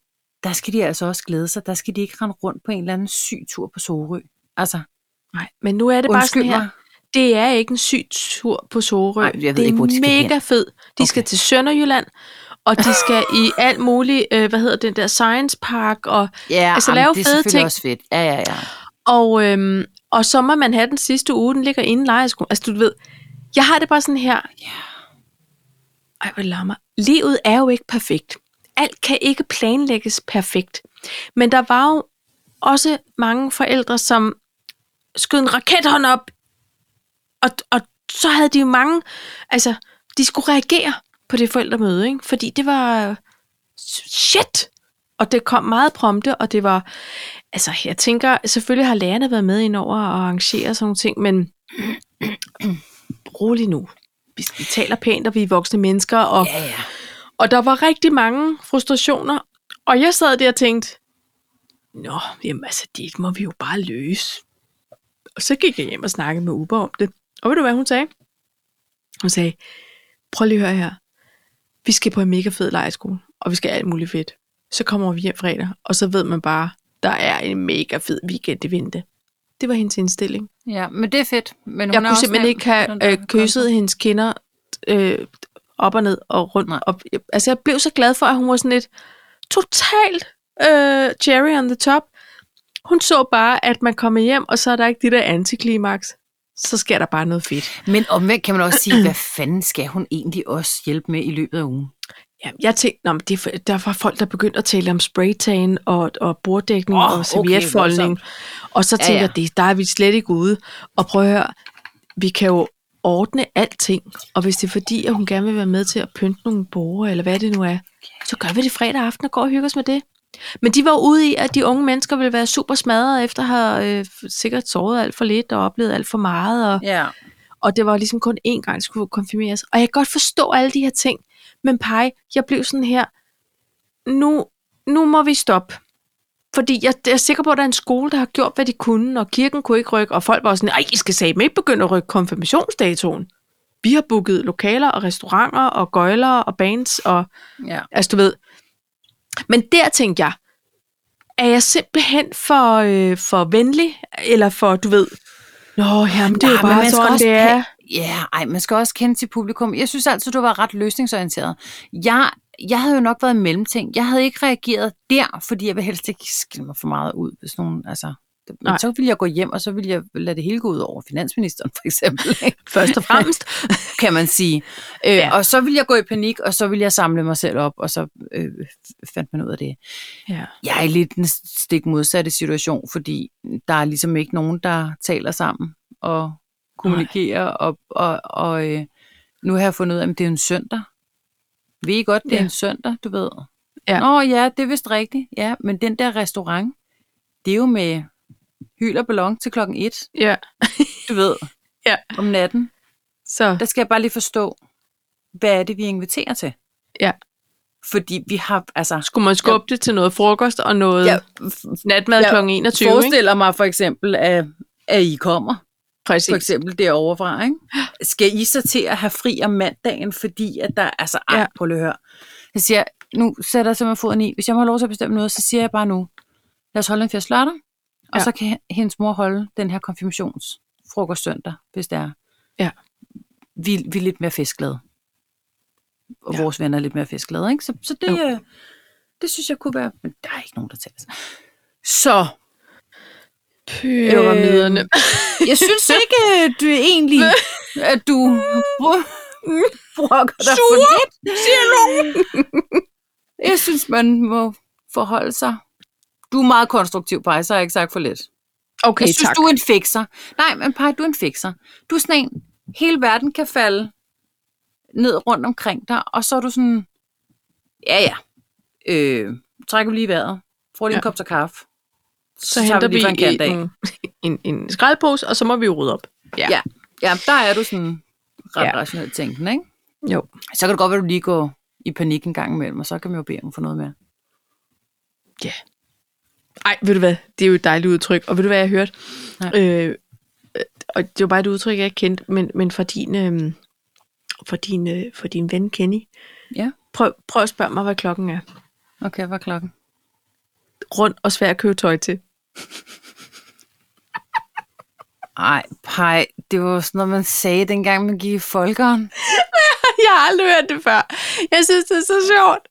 Speaker 2: der skal de altså også glæde sig. Der skal de ikke rende rundt på en eller anden syg tur på Sorø. Altså,
Speaker 1: Nej, men nu er det bare
Speaker 2: undskyld
Speaker 1: sådan her.
Speaker 2: mig.
Speaker 1: Det er ikke en syg tur på Sorø.
Speaker 2: Ej, jeg ved
Speaker 1: det er
Speaker 2: ikke, hvor de skal
Speaker 1: mega
Speaker 2: hen.
Speaker 1: fed. De
Speaker 2: Okay.
Speaker 1: skal til Sønderjylland, og de skal i alt muligt, øh, hvad hedder den der, Science Park, og,
Speaker 2: Ja,
Speaker 1: Altså,
Speaker 2: jamen,
Speaker 1: lave
Speaker 2: det er
Speaker 1: fede
Speaker 2: selvfølgelig
Speaker 1: ting.
Speaker 2: også fedt. Ja, ja, ja.
Speaker 1: og, øhm, og så må man have den sidste uge, den ligger inde i lejeskolen. Altså du ved, Jeg har det bare sådan her. Ej, hvor lammer. Livet er jo ikke perfekt. Alt kan ikke planlægges perfekt. Men der var jo også mange forældre, som skød en rakethånd op, og, og så havde de jo mange, altså, de skulle reagere på det forældremøde, ikke? fordi det var øh, shit, og det kom meget prompte, og det var, altså, jeg tænker, selvfølgelig har lærerne været med ind over og arrangere sådan nogle ting, men rolig nu. Vi, vi taler pænt, og vi er voksne mennesker, og
Speaker 2: Ja, ja.
Speaker 1: og der var rigtig mange frustrationer, og jeg sad der og tænkte, Nå, jamen altså, det må vi jo bare løse. Og så gik jeg hjem og snakkede med Uber om det. Og ved du, hvad hun sagde? Hun sagde, prøv lige at høre her. Vi skal på en mega fed lejeskole, og vi skal alt muligt fedt. Så kommer vi hjem fredag, og så ved man bare, der er en mega fed weekend i vente. Det var hendes indstilling.
Speaker 2: Ja, men det er fedt. Men
Speaker 1: Jeg
Speaker 2: hun er
Speaker 1: kunne
Speaker 2: også
Speaker 1: simpelthen
Speaker 2: nem.
Speaker 1: ikke have
Speaker 2: Den der altså.
Speaker 1: øh, kysset hendes kinder øh, op og ned og rundt.
Speaker 2: Nej.
Speaker 1: Op. Altså, jeg blev så glad for, at hun var sådan lidt totalt øh, cherry on the top. Hun så bare, at man kommer hjem, og så er der ikke det der antiklimaks. Så sker der bare noget fedt.
Speaker 2: Men omvendt kan man også sige, hvad fanden skal hun egentlig også hjælpe med i løbet af ugen?
Speaker 1: Ja, jeg tænkte, nå, men det, er for- der var folk, der begyndte at tale om spraytagen og, og borddækning
Speaker 2: Åh,
Speaker 1: oh,
Speaker 2: okay,
Speaker 1: og servietfoldning.
Speaker 2: voldsomt.
Speaker 1: og så
Speaker 2: Ja,
Speaker 1: tænker
Speaker 2: ja.
Speaker 1: jeg, det, der er vi slet ikke ude. Og prøv at høre, vi kan jo ordne alting, og hvis det er fordi, at hun gerne vil være med til at pynte nogle borger, eller hvad det nu er, så gør vi det fredag aften og går og hygger os med det. Men de var jo ude i, at de unge mennesker ville være super smadrede, efter at have øh, sikkert sovet alt for lidt og oplevet alt for meget, og,
Speaker 2: Ja.
Speaker 1: og det var ligesom kun én gang, det skulle konfirmeres. Og jeg kan godt forstå alle de her ting, men pej, jeg blev sådan her, nu, nu må vi stoppe. Fordi jeg, jeg er sikker på, at der er en skole, der har gjort, hvad de kunne, og kirken kunne ikke rykke, og folk var sådan, ej, I skal sagde ikke begynde at rykke konfirmationsdatoen. Vi har booket lokaler og restauranter og gøjlere og bands og
Speaker 2: ja.
Speaker 1: Altså, du ved. Men der tænkte jeg, er jeg simpelthen for, øh, for venlig, eller for, du ved, Nå, jamen, det er jo
Speaker 2: Nej, Ah, men
Speaker 1: bare
Speaker 2: man skal
Speaker 1: sådan,
Speaker 2: også
Speaker 1: det
Speaker 2: have-
Speaker 1: er.
Speaker 2: Ja, ej, man skal også kende til publikum. Jeg synes altid, du var ret løsningsorienteret. Jeg, jeg havde jo nok været en mellemting. Jeg havde ikke reageret der, fordi jeg vil helst ikke skille mig for meget ud, hvis nogen, altså... det- Men
Speaker 1: Nej.
Speaker 2: så ville jeg gå hjem, og så ville jeg lade det hele gå ud over finansministeren, for eksempel, ikke?
Speaker 1: Først og fremmest.
Speaker 2: kan man sige. Øh,
Speaker 1: Ja.
Speaker 2: ja. Og så ville jeg gå i panik, og så ville jeg samle mig selv op, og så øh, fandt man ud af det.
Speaker 1: ja.
Speaker 2: Jeg er lidt i den stik modsatte situation, fordi der er ligesom ikke nogen, der taler sammen og kommunikerer. Og, og, og øh, nu har jeg fundet ud af, at det er en søndag. Ved I godt, det ja.
Speaker 1: Ja.
Speaker 2: er en søndag, du ved?
Speaker 1: Ja.
Speaker 2: Nå ja, det er vist rigtigt. Ja, men den der restaurant, det er jo med hyl og ballon til klokken et,
Speaker 1: ja.
Speaker 2: du ved,
Speaker 1: Ja.
Speaker 2: om natten.
Speaker 1: Så,
Speaker 2: Der skal jeg bare lige forstå, hvad er det, vi inviterer til?
Speaker 1: Ja.
Speaker 2: Fordi vi har, altså...
Speaker 1: skulle man skubbe det til noget frokost og noget ja. natmad
Speaker 2: Ja,
Speaker 1: ja. kl. 21, ikke?
Speaker 2: forestiller mig for eksempel, at, at I kommer, for
Speaker 1: Præcis.
Speaker 2: eksempel derovre fra, ikke? Skal I så til at have fri om mandagen, fordi at der, altså, ej,
Speaker 1: Ja.
Speaker 2: ja. prøv lige at høre. Jeg siger, nu sætter jeg simpelthen foden i. Hvis jeg må have lov til at bestemme noget, så siger jeg bare nu, lad os holde en fjers lørdag, og
Speaker 1: Ja.
Speaker 2: ja. så kan hendes mor holde den her konfirmationsfrokost søndag, hvis det er.
Speaker 1: Ja.
Speaker 2: Vi, vi er lidt mere festglade. Og
Speaker 1: Ja.
Speaker 2: ja. vores venner er lidt mere festglade, ikke? Så, så det,
Speaker 1: Jo.
Speaker 2: øh, det synes jeg kunne være... Men der er ikke nogen, der taler sådan. Så,
Speaker 1: Pyramiderne. Øh.
Speaker 2: jeg synes ikke, øh, du egentlig, at du bro- brokker dig for
Speaker 1: Sure,
Speaker 2: lidt. siger nogen. Jeg synes, man må forholde sig. Du er meget konstruktiv, Paj, så har jeg ikke sagt for lidt.
Speaker 1: Okay,
Speaker 2: jeg synes,
Speaker 1: tak.
Speaker 2: du er en fikser. Nej, men Paj, du er en fikser. Du er sådan en, hele verden kan falde ned rundt omkring dig, og så er du sådan, ja ja, øh, trækker vi lige vejret, får lige en
Speaker 1: Ja.
Speaker 2: kop til kaffe,
Speaker 1: Så henter vi
Speaker 2: fra en kant af.
Speaker 1: en, en, en skraldpose, og så må vi jo rydde op. Ja.
Speaker 2: Ja. Ja, der er du sådan ret
Speaker 1: Ja.
Speaker 2: ja. rationelt tænkende, ikke?
Speaker 1: Jo.
Speaker 2: Så kan det godt være, at du lige går i panik en gang imellem, og så kan man jo bede om for noget mere.
Speaker 1: Ej, ved du hvad, det er jo et dejligt udtryk, og ved du hvad, jeg hørte?
Speaker 2: Nej.
Speaker 1: Øh, øh, og det var bare et udtryk, jeg ikke kendte, men, men fra din, øh, fra din, øh, fra din ven Kenny.
Speaker 2: Ja.
Speaker 1: Prøv, prøv at spørge mig, hvad klokken er.
Speaker 2: Okay, hvad er klokken?
Speaker 1: Rundt og svær at købe tøj til.
Speaker 2: Ej, pej, det var jo sådan noget, man sagde dengang, man gik i folkeren.
Speaker 1: Jeg har aldrig hørt det før. Jeg synes, det er så sjovt.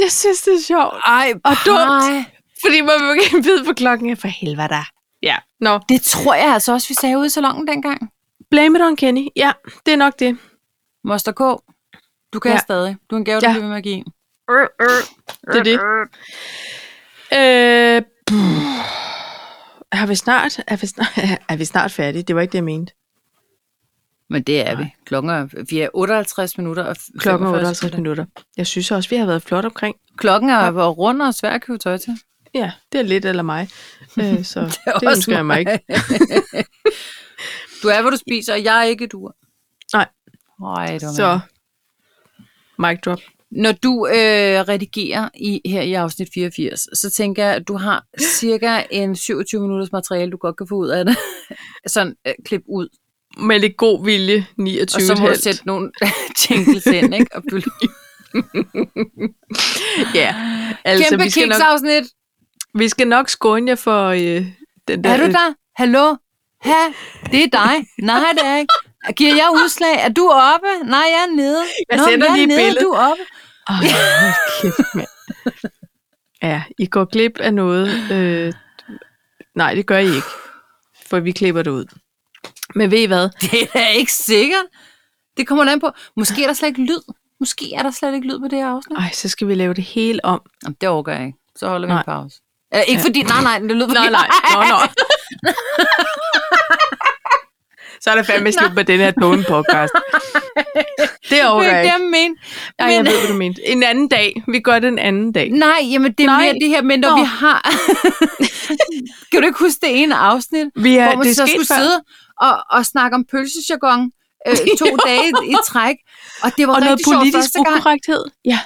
Speaker 1: Jeg synes, det er sjovt.
Speaker 2: Ej,
Speaker 1: Og dumt.
Speaker 2: pej.
Speaker 1: Fordi man vil ikke vide, hvad klokken er. For helvede da. Ja. Nå,
Speaker 2: Det tror jeg altså også, vi sagde ude i salongen dengang.
Speaker 1: Blame it on Kenny. Ja, det er nok det.
Speaker 2: Moster K, du kan
Speaker 1: Ja.
Speaker 2: ja. stadig. Du er en gave, du
Speaker 1: Ja.
Speaker 2: ja. med at give.
Speaker 1: Øh, øh, det er det. Øh, pff. er vi snart, er vi snart, er vi snart færdige? Det var ikke det, jeg mente.
Speaker 2: Men det er
Speaker 1: Nej.
Speaker 2: vi. Klokken er, vi er 58 minutter. Og f-
Speaker 1: Klokken er
Speaker 2: 45
Speaker 1: 58
Speaker 2: sekunder.
Speaker 1: minutter. Jeg synes også, vi har været flot omkring.
Speaker 2: Klokken er ja. rundt og svær at købe tøj til.
Speaker 1: Ja, det er lidt eller mig. Øh, så det,
Speaker 2: er
Speaker 1: det
Speaker 2: også
Speaker 1: ønsker jeg mig ikke.
Speaker 2: Du er, hvad du spiser, og jeg er ikke du.
Speaker 1: Nej.
Speaker 2: Nej, det var
Speaker 1: Så, mic drop.
Speaker 2: Når du øh, redigerer i, her i afsnit 84, så tænker jeg, at du har cirka en 27 minutters materiale, du godt kan få ud af det. Sådan øh, klip ud.
Speaker 1: Med lidt god vilje, 29
Speaker 2: Og så må du sætte nogle jingles ind, ikke? Og fylde.
Speaker 1: Ja,
Speaker 2: altså, Kæmpe
Speaker 1: vi skal, nok,
Speaker 2: kiksafsnit!
Speaker 1: vi skal nok skåne jer for øh, den der...
Speaker 2: Er du der? Hallo? Ha? Det er dig? Nej, det er ikke. Giver jeg udslag? Er du oppe? Nej, jeg er nede.
Speaker 1: Jeg
Speaker 2: Nå, men
Speaker 1: sender
Speaker 2: jeg er
Speaker 1: lige et
Speaker 2: nede,
Speaker 1: billede.
Speaker 2: Du er oppe.
Speaker 1: Oh, kæft, mand. Ja, I går glip af noget. Øh, nej, det gør I ikke, for vi klipper det ud. Men ved I hvad?
Speaker 2: Det er da ikke sikkert. Det kommer an på. Måske er der slet ikke lyd. Måske er der slet ikke lyd på det her afsnit.
Speaker 1: Ej, så skal vi lave det hele om.
Speaker 2: Jamen, det overgår jeg ikke. Så holder vi
Speaker 1: Nej.
Speaker 2: en pause. Eller, ikke fordi, nej, nej, det lyder
Speaker 1: Nej, nej. Nå, nå. Så er der fandme slut med den her dårlige podcast. Det
Speaker 2: Det
Speaker 1: overgår
Speaker 2: er
Speaker 1: jeg ikke.
Speaker 2: ikke det, jeg mener.
Speaker 1: Ej, jeg
Speaker 2: Men,
Speaker 1: ved, hvad du mente. En anden dag. Vi gør det en anden dag.
Speaker 2: nej, jamen, det er
Speaker 1: Nej.
Speaker 2: mere det her, men når
Speaker 1: Nå.
Speaker 2: vi har... kan du ikke huske det ene afsnit?
Speaker 1: Vi har,
Speaker 2: hvor man
Speaker 1: det er
Speaker 2: så
Speaker 1: sket
Speaker 2: skulle
Speaker 1: før.
Speaker 2: sidde og, og snakke om pølsejargon øh, to dage i træk. Og det var
Speaker 1: Og noget
Speaker 2: rigtig sjovt
Speaker 1: politisk
Speaker 2: første gang.
Speaker 1: ukorrekthed. Ja.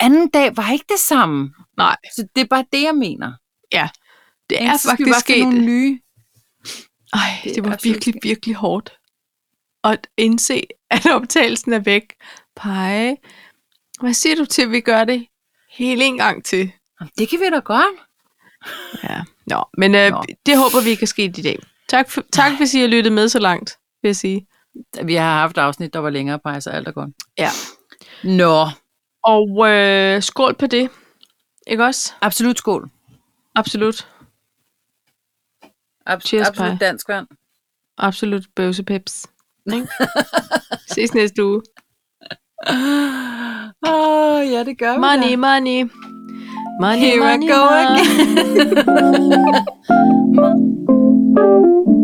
Speaker 2: Anden dag var ikke det samme.
Speaker 1: Nej,
Speaker 2: Så det er bare det, jeg mener.
Speaker 1: det
Speaker 2: Ikke?
Speaker 1: er
Speaker 2: Så skal vi
Speaker 1: faktisk
Speaker 2: bare finde
Speaker 1: sket.
Speaker 2: nogle nye.
Speaker 1: Ej,
Speaker 2: Det
Speaker 1: det,
Speaker 2: er
Speaker 1: det var
Speaker 2: absolut
Speaker 1: virkelig,
Speaker 2: skægt.
Speaker 1: virkelig hårdt at indse, at optagelsen er væk. Pege. Hvad siger du til, at vi gør det hele en gang til?
Speaker 2: Jamen, det kan vi da godt.
Speaker 1: Ja. Nå, men øh,
Speaker 2: Nå.
Speaker 1: det håber vi ikke er sket i dag. Tak, for, tak hvis I har lyttet med så langt, vil jeg sige.
Speaker 2: Vi har haft afsnit, der var længere, Paj, så alt er godt.
Speaker 1: Ja.
Speaker 2: Nå,
Speaker 1: Og øh, skål på det. Ikke også?
Speaker 2: absolut skål.
Speaker 1: Absolut.
Speaker 2: Abs-
Speaker 1: Cheers,
Speaker 2: absolut
Speaker 1: Paj.
Speaker 2: dansk vand.
Speaker 1: Absolut bøvsepips. Ikke? Ses næste uge.
Speaker 2: Åh, oh, ja, det gør vi da.
Speaker 1: Money, money. Money,
Speaker 2: Here I
Speaker 1: money,
Speaker 2: go
Speaker 1: money.